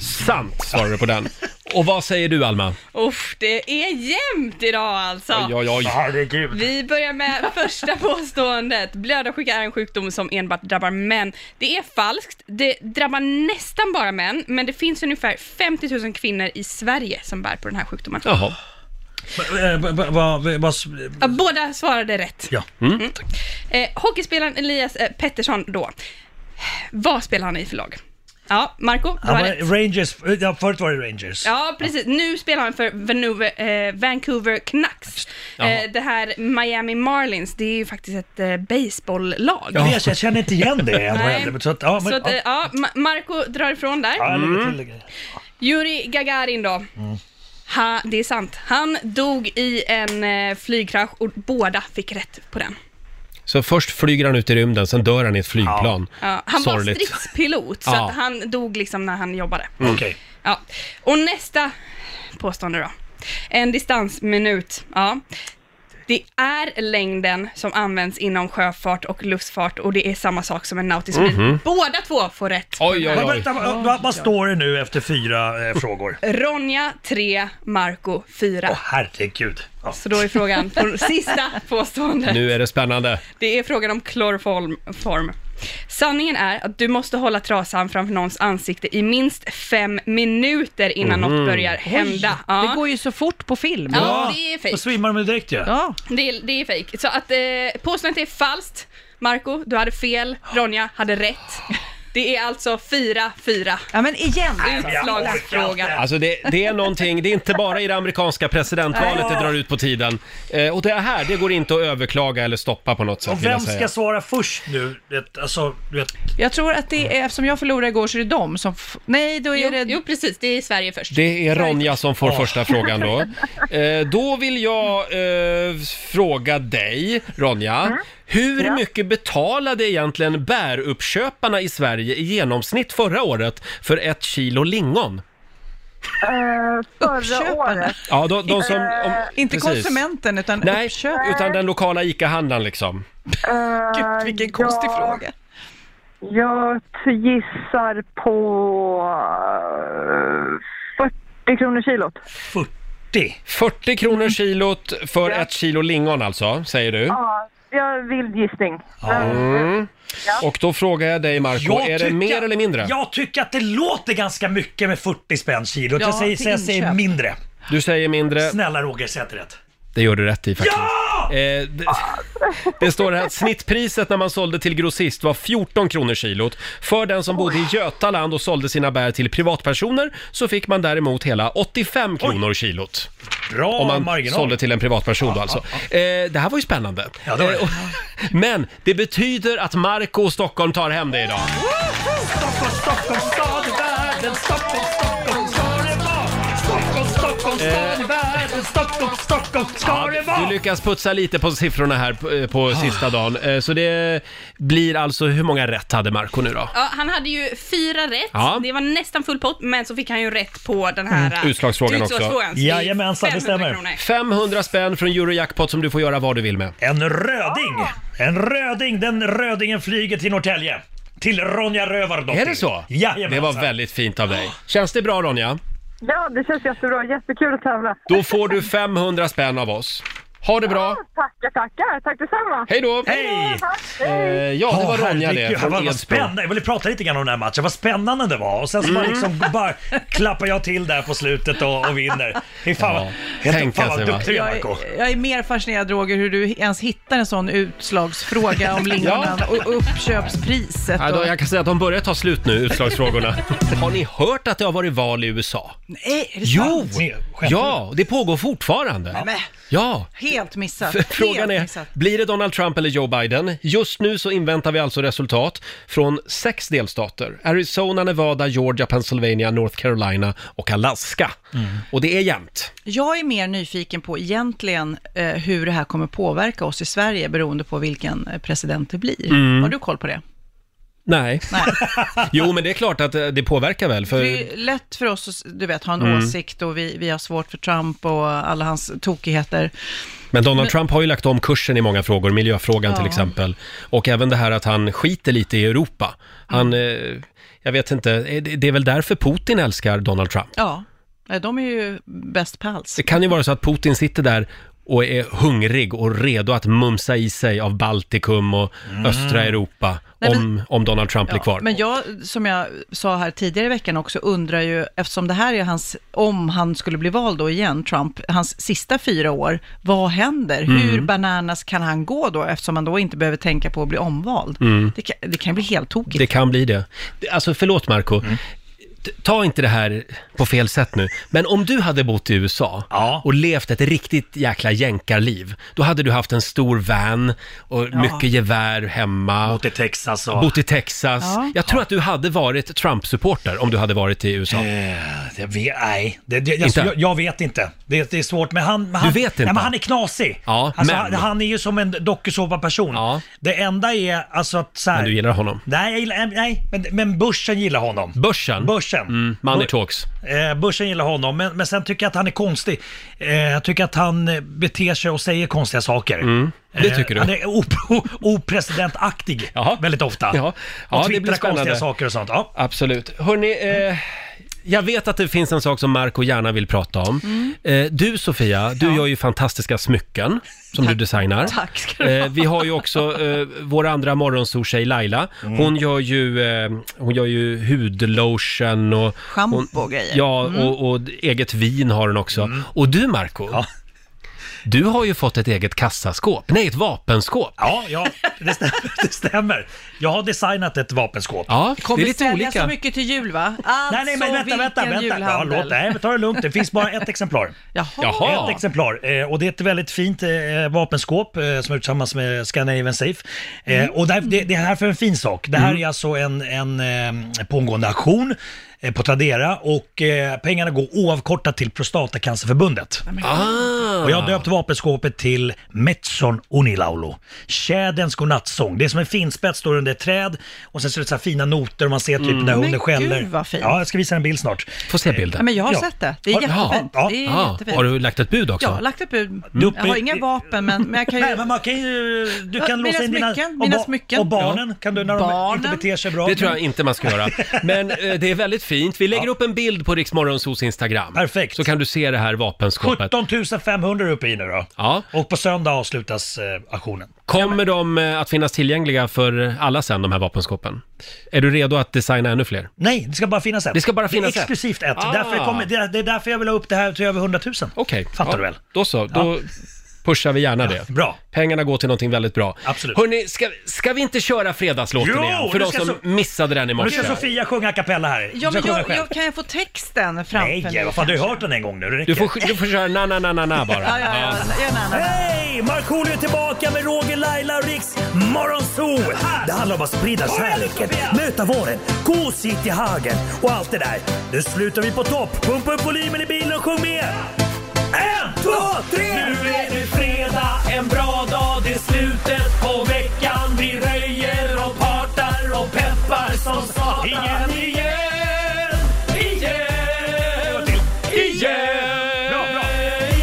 A: Sant svarar du på den. Och vad säger du Alma?
J: Uff, det är jämnt idag alltså.
A: Oj, oj, oj. Herregud.
J: Vi börjar med första påståendet. Blödarsjuka är en sjukdom som enbart drabbar män. Det är falskt. Det drabbar nästan bara män, men det finns ungefär 50 000 kvinnor i Sverige som bär på den här sjukdomen.
A: Jaha.
I: Eh, b- b- Vad... vad- vad-
J: Ja, Båda svarade rätt.
I: Ja.
J: Mm. Eh, hockeyspelaren Elias eh, Pettersson då. Vad spelar han i för lag?
E: Ja, Marco, du
I: Han
E: har
I: var
E: rätt.
I: Rangers, ja, förut var det Rangers.
E: Ja, precis. Nu spelar han för Vanuve- eh, Vancouver Canucks.
I: Jaha.
E: Eh, det här Miami Marlins, det är ju faktiskt ett eh, baseballlag.
I: Jag, vet, jag känner inte igen det.
E: Nej.
I: NHL, så att, ja, men,
E: Så att, eh,
I: ja.
E: ja, Ma- Marco drar ifrån där.
I: Ja, jag lägger till det.
E: Yuri Gagarin då. Ha, det är sant. Han dog i en eh, flygkrasch och båda fick rätt på den.
A: Så först flyger han ut i rymden, sen dör han i ett flygplan.
E: Ja, han
A: Sorgligt.
E: var stridspilot, så
A: Ja.
E: att han dog liksom när han jobbade.
A: Mm.
E: Ja. Och nästa påstående då. En distansminut. Ja. Det är längden som används inom sjöfart och luftfart och det är samma sak som en nautisk mil.
I: Mhm.
E: Båda två får rätt.
I: Men vänta, vad, vad, vad står det nu efter fyra eh, frågor?
E: Ronja 3, Marco 4.
I: Åh herregud. Ja.
E: Så då är frågan, på sista påståendet.
A: Nu är det spännande.
E: Det är frågan om kloroform. Form. Sanningen är att du måste hålla trasan framför någons ansikte i minst fem minuter innan
I: Mhm.
E: något börjar
I: Oj,
E: hända.
O: Det går ju så fort på film.
E: Ja, det är
I: Då
E: fejk.
I: svimmar de direkt ju.
O: Ja.
E: Det, är- det är fejk. Så att eh, påståendet är falskt. Marco, du hade fel. Ronja hade rätt. Det är alltså 4-4.
O: Ja, men igen!
E: Utslagsfråga.
A: Alltså det, det är någonting, det är inte bara i det amerikanska presidentvalet det drar ut på tiden. Eh, och det här, det går inte att överklaga eller stoppa på något sätt
I: Och
A: vill
I: vem
A: jag
I: ska
A: säga.
I: svara först nu? Det, alltså, du vet,
O: Jag tror att det är, eftersom jag förlorade igår så är det de som... F- Nej, då är
E: Jo,
O: det...
E: jo, precis. Det är Sverige först.
A: Det är Ronja som får första frågan då. Eh, då vill jag eh, fråga dig, Ronja. Hur mycket betalade egentligen bäruppköparna i Sverige i genomsnitt förra året för ett kilo lingon?
G: Eh, förra året.
A: Ja, de, de som... Om,
H: Inte
A: precis.
H: konsumenten utan
A: Nej,
H: uppköparen.
A: utan den lokala ICA-handlaren liksom.
G: Eh,
H: Gud, vilken konstig fråga.
G: Jag gissar på eh, 40 kronor kilot.
A: 40. 40 kronor kilot för ett kilo lingon alltså, säger du?
G: Ja, jag vill gissning.
A: Mm. Och då frågar jag dig Marco, är det mer eller mindre?
I: Jag tycker att det låter ganska mycket med 40 spänn kilo.
A: Ja,
I: jag säger,
A: till
I: så jag säger
A: inköp.
I: mindre.
A: Du säger mindre.
I: Snälla Roger, säg att det är rätt.
A: Det gör du rätt i faktiskt. Eh, det, det står här att snittpriset när man sålde till grossist var 14 kronor kilot. För den som bodde i Götaland och sålde sina bär till privatpersoner så fick man däremot hela 85 kronor kilot.
I: Bra
A: Om man
I: marginal.
A: sålde till en privatperson då
I: Ja,
A: alltså.
I: ja,
A: Eh, det här var ju spännande.
I: Ja, det var det.
A: Eh, och- Men det betyder att Marco och Stockholm tar hem det idag.
I: Stockholm, Stockholm, stad i världen. Stockholm, Stockholm, ska det vara. Stockholm, Stockholm, stad i världen. Stockholm, Stockholm, ska det vara.
A: Du lyckas putsa lite på siffrorna här på, eh, på sista dagen. Eh, Så det blir alltså, hur många rätt hade Marco nu då?
E: Ja, han hade ju fyra rätt,
A: Ja. Mm.
E: det var nästan full pott, men så fick han ju rätt på den här eh,
A: Utslagsfrågan också.
E: utslagsfrågan. Så det är 500 kronor.
A: 500 spänn från Eurojackpot som du får göra vad du vill med.
I: En röding! En röding! Den rödingen flyger till Norrtälje. Till Ronja Rövardotter. alltså.
A: Är det så?
I: Jajamensan.
A: Det var väldigt fint av dig. Känns det bra Ronja?
G: Ja, det känns jättebra. Jättekul att tävla.
A: Då får du 500 spänn av oss. Ha det bra!
G: Tackar, tackar. Tack detsamma.
A: Hej då!
I: Hej!
A: Eh, ja, det var
I: Åh,
A: Ronja
I: herregud,
A: det, från
I: Vad, vad
A: Edsbro.
I: spännande. Jag ville prata lite grann om den här matchen. Vad spännande det var. Och sen så bara,
A: Mm.
I: liksom, bara klappar jag till där på slutet och, och vinner. Fy fan, vad- helt, fan vad duktig du är
H: jag,
I: Marco.
H: är, jag är mer fascinerad Roger hur du ens hittar en sån utslagsfråga om lingonen
A: Ja.
H: och uppköpspriset.
A: Ja,
H: Och...
A: då, jag kan säga att de börjar ta slut nu, utslagsfrågorna. Har ni hört att det har varit val i USA?
H: Nej, är det
A: Jo!
H: sant?
A: Ja, det pågår fortfarande.
H: Nej, men.
A: Ja,
H: Helt missat.
A: F- Frågan
H: Helt
A: är,
H: missat.
A: blir det Donald Trump eller Joe Biden? Just nu så inväntar vi alltså resultat från sex delstater. Arizona, Nevada, Georgia, Pennsylvania, North Carolina och Alaska. Och det är jämnt.
H: Jag är mer nyfiken på egentligen eh, hur det här kommer påverka oss i Sverige beroende på vilken eh, president det blir.
A: Mm.
H: Har du koll på det?
A: Nej. jo, men det är klart att eh, det påverkar väl.
H: För
A: För...
H: det är ju lätt för oss att du vet, ha en
A: Mm.
H: åsikt och vi, vi har svårt för Trump och alla hans tokigheter.
A: Men Donald
H: Men-
A: Trump har ju lagt om kursen i många frågor, miljöfrågan till
H: Ja.
A: exempel. Och även det här att han skiter lite i Europa. Han,
H: Mm.
A: eh, jag vet inte, eh, det det är väl därför Putin älskar Donald Trump.
H: Ja, Nej, de eh, är ju bäst på allt.
A: Det kan ju vara så att Putin sitter där och är hungrig och redo att mumsa i sig av Baltikum och östra Europa
H: Nej, men-
A: om, om Donald Trump blir kvar.
H: Men jag, som jag sa här tidigare i veckan också, undrar ju, eftersom det här är hans, om han skulle bli vald då igen, Trump, hans sista fyra år, vad händer?
P: Mm.
H: Hur bananas kan han gå då, eftersom han då inte behöver tänka på att bli omvald?
A: Mm.
H: Det, kan, det kan bli helt tokigt.
A: Det kan bli det. Alltså förlåt Marco T- ta inte det här på fel sätt nu, men om du hade bott i USA och levt ett riktigt jäkla jänkarliv, då hade du haft en stor van och
I: Ja.
A: mycket gevär hemma. Bott
I: i Texas och...
A: Bott i Texas.
I: Ja.
A: Jag tror att du hade varit Trump-supporter om du hade varit i USA.
I: Jag vet, nej, det, det, alltså,
A: Inte?
I: jag, jag vet inte. Det, det är svårt, men han... men han
A: Du vet inte?
I: Nej, men han är knasig.
A: Ja,
I: alltså,
A: men-
I: han, han är ju som en dokusåpa-person. Det enda är alltså att så här,
A: Men du gillar honom?
I: Nej, jag gillar, nej men, men börsen gillar honom.
A: Börsen?
I: Börsen.
A: Mm, money talks.
I: Eh, börsen gillar honom, men, men sen tycker jag att han är konstig. Eh, jag tycker att han eh, beter sig och säger konstiga saker.
A: Mm,
I: Eh,
A: det tycker du.
I: Han är op opresidentaktig väldigt ofta.
A: Ja. Ja,
I: och
A: det blir
I: twittrar konstiga
A: spännande.
I: saker och sånt. Ja.
A: Absolut. Hörni, eh, jag vet att det finns en sak som Marco gärna vill prata om.
H: Mm.
A: Eh, du Sofia, du gör ju fantastiska smycken som du designar.
H: Tack ska du ha.
A: eh, Vi har ju också eh, vår andra morgonsoltjej Laila.
I: Mm.
A: Hon, gör ju, eh, hon gör ju hudlotion och...
H: Shampoo
A: hon,
H: och grejer.
A: Ja,
H: Mm.
A: och, och eget vin har hon också.
I: Mm.
A: Och du Marco, du har ju fått ett eget kassaskåp. Nej, ett vapenskåp.
I: Ja, ja det, stämmer, det stämmer. Jag har designat ett vapenskåp.
A: Ja,
I: det,
H: Kommer säljas så mycket till jul va? Alltså,
I: Nej, nej, men vänta, vänta,
H: vilken
I: vänta. Ja,
H: julhandel.
I: låt, nej, men ta det lugnt. Det finns bara ett exemplar.
H: Jaha.
A: Jaha.
I: Ett exemplar. Eh, och det är ett väldigt fint eh, vapenskåp eh, som är tillsammans med Scandinavian Safe. Eh, Och det, här- det, det här för en fin sak. Det här
A: Mm.
I: är alltså en, en eh, pågående auktion eh, på Tradera och eh, pengarna går oavkortat till Prostatacancerförbundet.
A: Ah.
I: Och jag har döpt vapenskåpet till Metson Unilaulu. Tjäderns godnattsång. Det är som en finspets, står under ett träd och sen så är det så här fina noter och man ser typ
H: Mm.
I: när
H: Men
I: hunden
H: gud,
I: skäller.
H: vad fint.
I: Ja, jag ska visa en bild snart.
A: Få se bilden.
H: Ja, men jag har sett det. Det är jättefint. Det är jättefint.
A: Har du lagt ett bud också?
H: Jag har lagt ett bud.
A: Du-
H: Jag har inga vapen, men, men jag kan ju...
I: Nej, men man kan ju... Du
H: Ja,
I: kan
H: mina
I: låsa in dina...
H: smycken,
I: och
H: mina
I: ba-
H: smycken.
I: Och barnen kan du när de
H: Barnen.
I: inte beter sig bra.
A: Det tror jag inte man ska göra. Men eh, det är väldigt fint. Vi lägger upp en bild på Riksmorgonsos Instagram.
I: Perfekt.
A: Så kan du se det här vapenskåpet.
I: 17 500 är uppe i nu då.
A: Ja.
I: Och på söndag avslutas eh, auktionen.
A: Kommer de eh, att finnas tillgängliga för alla sen, de här vapenskåpen? Är du redo att designa ännu fler?
I: Nej, det ska bara finnas ett.
A: Det ska bara finnas
I: det är exklusivt
A: ett.
I: ett.
A: Ah.
I: Därför kommer, det, det är därför jag vill ha upp det här till över 100 000.
A: Okej.
I: Fattar
A: Ja,
I: du väl?
A: Då så, då pushar vi gärna det.
I: bra.
A: Pengarna går till någonting väldigt bra.
I: Absolut.
A: Hörni, ska, ska vi inte köra fredagslåten
I: Jo,
A: igen? För
I: nu
A: de
I: ska
A: som
I: so-
A: missade den i
I: Nu
A: morse.
I: ska Sofia sjunga a cappella här.
H: Ja,
I: Hon ska
H: men
I: sjunga
H: jag,
I: själv.
H: jag, kan jag få texten framför
I: Nej, vad fan, du har hört den en gång nu. Det
A: Du
I: räcker.
A: får, du får köra na-na-na-na bara.
I: Ja, ja, ja. Hej! Markoolio är tillbaka med Roger, Laila och Riks Morgonzoo! Det handlar om att sprida kärleken, möta våren, gosigt i hagen och allt det där. Nu slutar vi på topp! Pumpa upp volymen i bilen och sjung med! En, två, tre! Nu är det fredag, en bra dag, det är slutet på veckan. Vi röjer och partar och peppar som satan. Igen, igen, igen, igen! Bra, bra!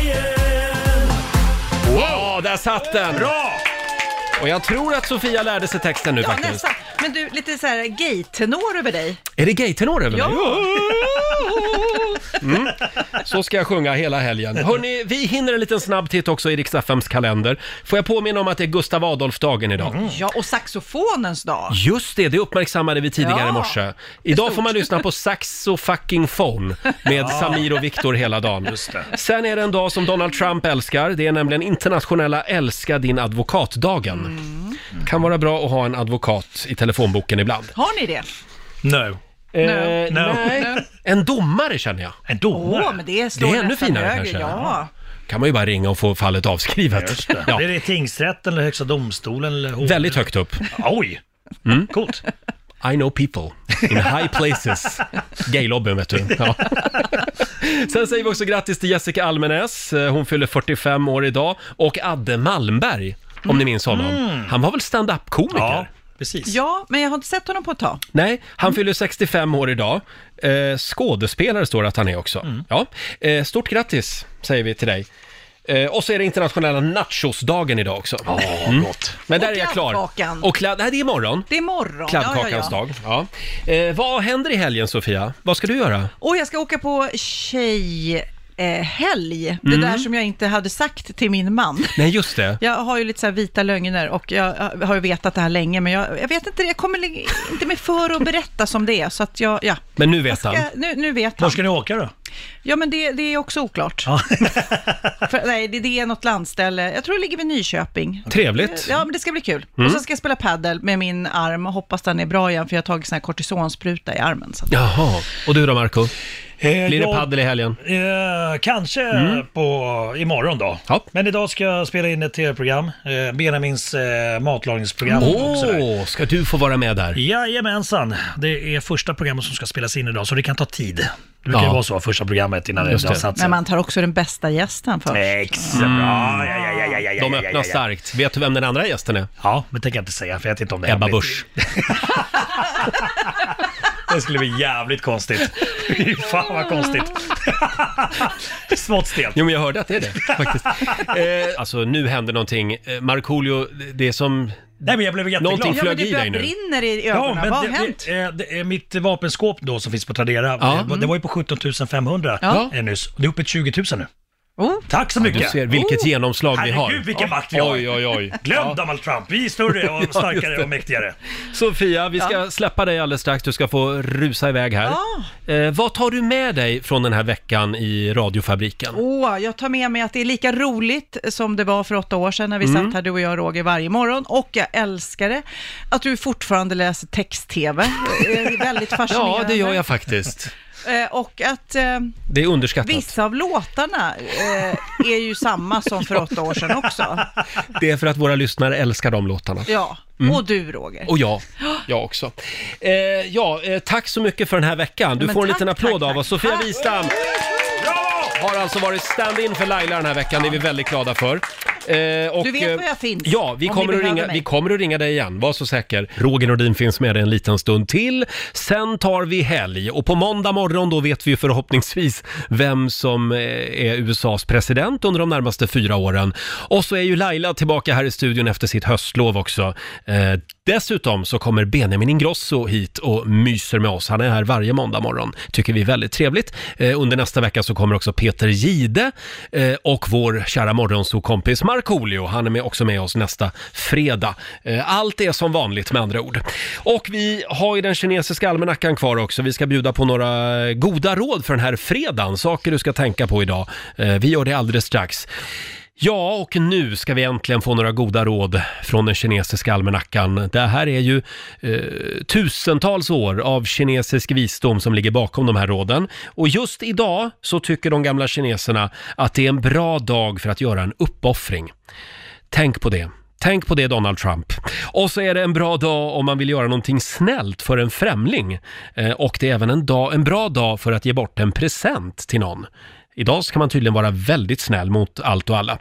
A: Wow, där satt den!
I: Bra!
A: Och jag tror att Sofia lärde sig texten nu
H: Ja,
A: faktiskt.
H: nästan. Men du, lite så här gay-tenor över dig.
A: Är det gaytenor över
H: Ja.
A: mig? Mm. Så ska jag sjunga hela helgen. Hörrni, vi hinner en liten snabb titt också i Rix FMs kalender. Får jag påminna om att det är Gustav Adolfsdagen idag?
H: Ja, och saxofonens dag.
A: Just det, det uppmärksammade vi tidigare
H: Ja,
A: i morse. Idag får man lyssna på Saxo fucking phone med
I: Ja.
A: Samir och Viktor hela dagen.
I: Just det.
A: Sen är det en dag som Donald Trump älskar. Det är nämligen internationella älska din advokatdagen.
I: Mm.
A: Mm. Kan vara bra att ha en advokat i telefonboken ibland.
H: Har ni det?
I: No.
A: Eh,
H: No. No.
A: Nej. En domare känner jag.
I: En
H: Åh, men det slår
A: Det är ännu
H: nästan
A: finare
H: höger,
A: kanske.
H: Ja.
A: kan man ju bara ringa och få fallet avskrivet.
I: Just det.
A: Ja.
I: Är det tingsrätten eller högsta domstolen? Eller hovrätten?
A: Väldigt högt upp.
I: Oj!
A: Mm.
I: Coolt.
A: I know people in high places. Gaylobbyn vet du. Ja. Sen säger vi också grattis till Jessica Almenäs. Eh, Hon fyller 45 år idag. Och Adde Malmberg, om ni minns honom.
H: Mm.
A: Han var väl stand-up-komiker?
I: Ja, precis.
H: ja, men jag har inte sett honom på ett tag.
A: Nej, han fyller 65 år idag. Eh, skådespelare står det att han är också.
I: Mm.
A: Ja. Eh, stort grattis säger vi till dig. Eh, och så är det internationella nachosdagen idag också. Ja,
I: gott.
A: Men där
H: Och
A: är jag klar.
H: kladdkakan.
A: Och kladd... Nej, det är imorgon.
H: Det är morgon.
A: Kladdkakans dag. Ja. Eh, vad händer i helgen, Sofia? Vad ska du göra?
H: Och jag ska åka på tjej... eh, helg. Det
A: Mm.
H: där som jag inte hade sagt till min man.
A: Nej, just det.
H: Jag har ju lite så här vita lögner och jag eh, har ju vetat det här länge, men jag, jag vet inte, jag kommer li- inte med för att berätta som det är, så att jag, ja.
A: Men nu vet han.
H: Jag, nu, nu vet
I: Var
H: han.
I: ska ni åka då?
H: Ja, men det, det är också oklart. för, nej, det, det är något landställe. Jag tror det ligger vid Nyköping. Eh,
A: Trevligt.
H: Ja, men det ska bli kul.
A: Mm.
H: Och så ska jag spela paddel med min arm och hoppas den är bra igen, för jag har tagit sån här kortisonspruta i armen. Så. att-
A: Jaha. Och du då, Marco? Blir det
I: jag-
A: padel i helgen?
I: Eh, kanske
A: Mm.
I: på, imorgon då. Men idag ska jag spela in ett tv-program, eh, Benjamins eh, matlagningsprogram. och
A: Åh,
I: sådär.
A: ska du få vara med där?
I: Jajamensan, det är första programmet som ska spelas in idag så det kan ta tid. Det brukar ju
A: Ja.
I: vara så, första programmet innan
A: Just
I: det har
A: det.
I: satt sig.
H: Men man tar också den bästa gästen först.
I: Exakt. Ja, ja, ja, ja, ja, ja, ja,
A: De
I: ja,
A: öppnar
I: ja, ja.
A: starkt. Vet du vem den andra gästen är?
I: Ja, men tänker jag inte säga, för jag vet inte om det är
A: Ebba
I: hemligt.
A: Busch.
I: Det skulle bli jävligt konstigt. Fy Fan vad konstigt. Smått stelt.
A: Jo, men jag hörde att det är det faktiskt. eh, alltså, nu händer någonting. Eh, Markoolio, det är som...
I: Nej, men jag blev jätteglad.
A: Någonting
H: ja, men
A: flög
H: det
A: i
H: börjar
A: dig nu.
H: brinner i ögonen. Vad har
I: det,
H: hänt?
I: Det, eh, det, är mitt vapenskåp då som finns på Tradera, eh, det, var ju på 17 500
H: Ja.
I: eh, nyss. Det är uppe i 20 000 nu.
H: Oh.
I: Tack så
A: Ja,
I: mycket!
A: du ser, vilket genomslag vi har.
I: Oh! Herregud vilken makt vi har!
A: Oj, oj, oj.
I: Glöm Donald Trump, vi är större
A: Ja,
I: och
A: just
I: starkare
A: det.
I: och mäktigare.
A: Sofia, vi ska
I: Ja.
A: släppa dig alldeles strax. Du ska få rusa iväg här. Eh, vad tar du med dig från den här veckan i radiofabriken?
H: Åh, jag tar med mig att det är lika roligt som det var för åtta år sedan när vi
A: Mm.
H: satt här du och jag Roger varje morgon och jag älskar det att du fortfarande läser text-tv. Det är väldigt fascinerande.
A: Ja, det gör jag faktiskt.
H: Eh, Och att eh,
A: Det är underskattat.
H: vissa av låtarna eh, är ju samma som för åtta år sedan också.
A: Det är för att våra lyssnare älskar de låtarna.
H: Ja,
A: Mm.
H: och du Roger.
A: Och jag, jag också. Eh, ja, eh, tack så mycket för den här veckan. Du
H: Men
A: får en
H: tack,
A: liten applåd
H: tack,
A: av oss. Sofia Wistam har alltså varit stand-in för Laila den här veckan. Det är vi väldigt glada för. Eh, och,
H: Du vet
A: eh,
H: var jag finns,
A: Ja, vi
H: om
A: kommer,
H: ni
A: att
H: behöver
A: ringa,
H: mig.
A: vi kommer att ringa dig igen, var så säker. Roger Nordin finns med dig en liten stund till. Sen tar vi helg och på måndag morgon då vet vi ju förhoppningsvis vem som eh, är USAs president under de närmaste fyra åren. Och så är ju Laila tillbaka här i studion efter sitt höstlov också. Eh, dessutom så kommer Benjamin Ingrosso hit och myser med oss. Han är här varje måndag morgon. Tycker vi är väldigt trevligt. Eh, under nästa vecka så kommer också Peter Gide eh, och vår kära morgonsokompis Markoolio. Han är med, också med oss nästa fredag. Eh, allt är som vanligt med andra ord. Och vi har ju den kinesiska almanackan kvar också. Vi ska bjuda på några goda råd för den här fredagen. Saker du ska tänka på idag. Eh, vi gör det alldeles strax. Ja, och nu ska vi äntligen få några goda råd från den kinesiska almanackan. Det här är ju eh, tusentals år av kinesisk visdom som ligger bakom de här råden. Och just idag så tycker de gamla kineserna att det är en bra dag för att göra en uppoffring. Tänk på det. Tänk på det Donald Trump. Och så är det en bra dag om man vill göra någonting snällt för en främling. Eh, och det är även en, dag, en bra dag för att ge bort en present till någon. Idag ska man tydligen vara väldigt snäll mot allt och alla.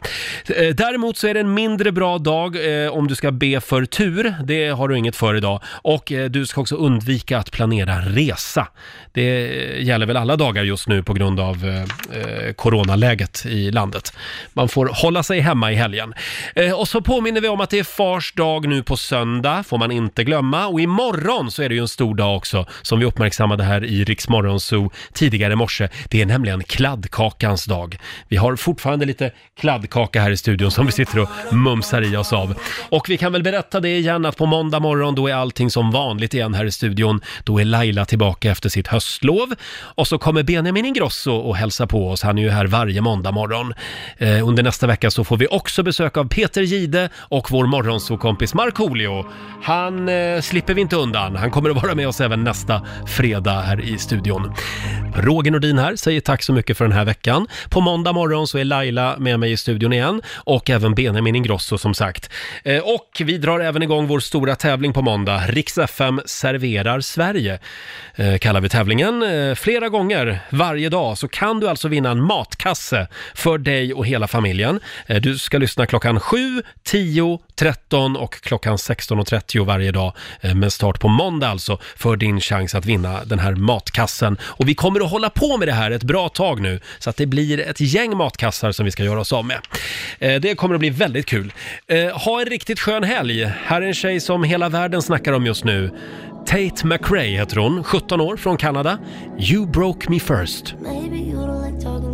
A: Eh, Däremot så är det en mindre bra dag eh, om du ska be för tur. Det har du inget för idag. Och eh, du ska också undvika att planera en resa. Det eh, gäller väl alla dagar just nu på grund av eh, eh, coronaläget i landet. Man får hålla sig hemma i helgen. Eh, och så påminner vi om att det är fars dag nu på söndag, får man inte glömma. Och imorgon så är det ju en stor dag också, som vi uppmärksammade här i Rix Morgon Zoo tidigare i morse. Det är nämligen kladdkakans dag. Vi har fortfarande lite kladdkaka här i studion som vi sitter och mumsar i oss av. Och vi kan väl berätta det igen att på måndag morgon då är allting som vanligt igen här i studion. Då är Laila tillbaka efter sitt höstlov. Och så kommer Benjamin Ingrosso och hälsa på oss. Han är ju här varje måndag morgon. Eh, under nästa vecka så får vi också besök av Peter Gide och vår morgonsokompis Markoolio. Han eh, slipper vi inte undan. Han kommer att vara med oss även nästa fredag här i studion. Roger Nordin här säger tack så mycket för den här veckan. På måndag morgon så är Laila med mig i studion igen och även Benjamin Ingrosso som sagt. Eh, Och vi drar även igång vår stora tävling på måndag. Rix FM serverar Sverige eh, kallar vi tävlingen. Eh, Flera gånger varje dag så kan du alltså vinna en matkasse för dig och hela familjen. Eh, Du ska lyssna klockan 7, 10, 13 och klockan 16.30 varje dag eh, med start på måndag alltså för din chans att vinna den här matkassen. Och vi kommer att hålla på med det här ett bra tag nu så att det blir ett gäng matkassar som vi ska göra oss av med. Eh, Det kommer att bli väldigt kul. Eh, Ha en riktigt skön helg. Här är en tjej som hela världen snackar om just nu. Tate McRae heter hon, 17 år från Kanada. You broke me first.
P: Maybe you don't like talking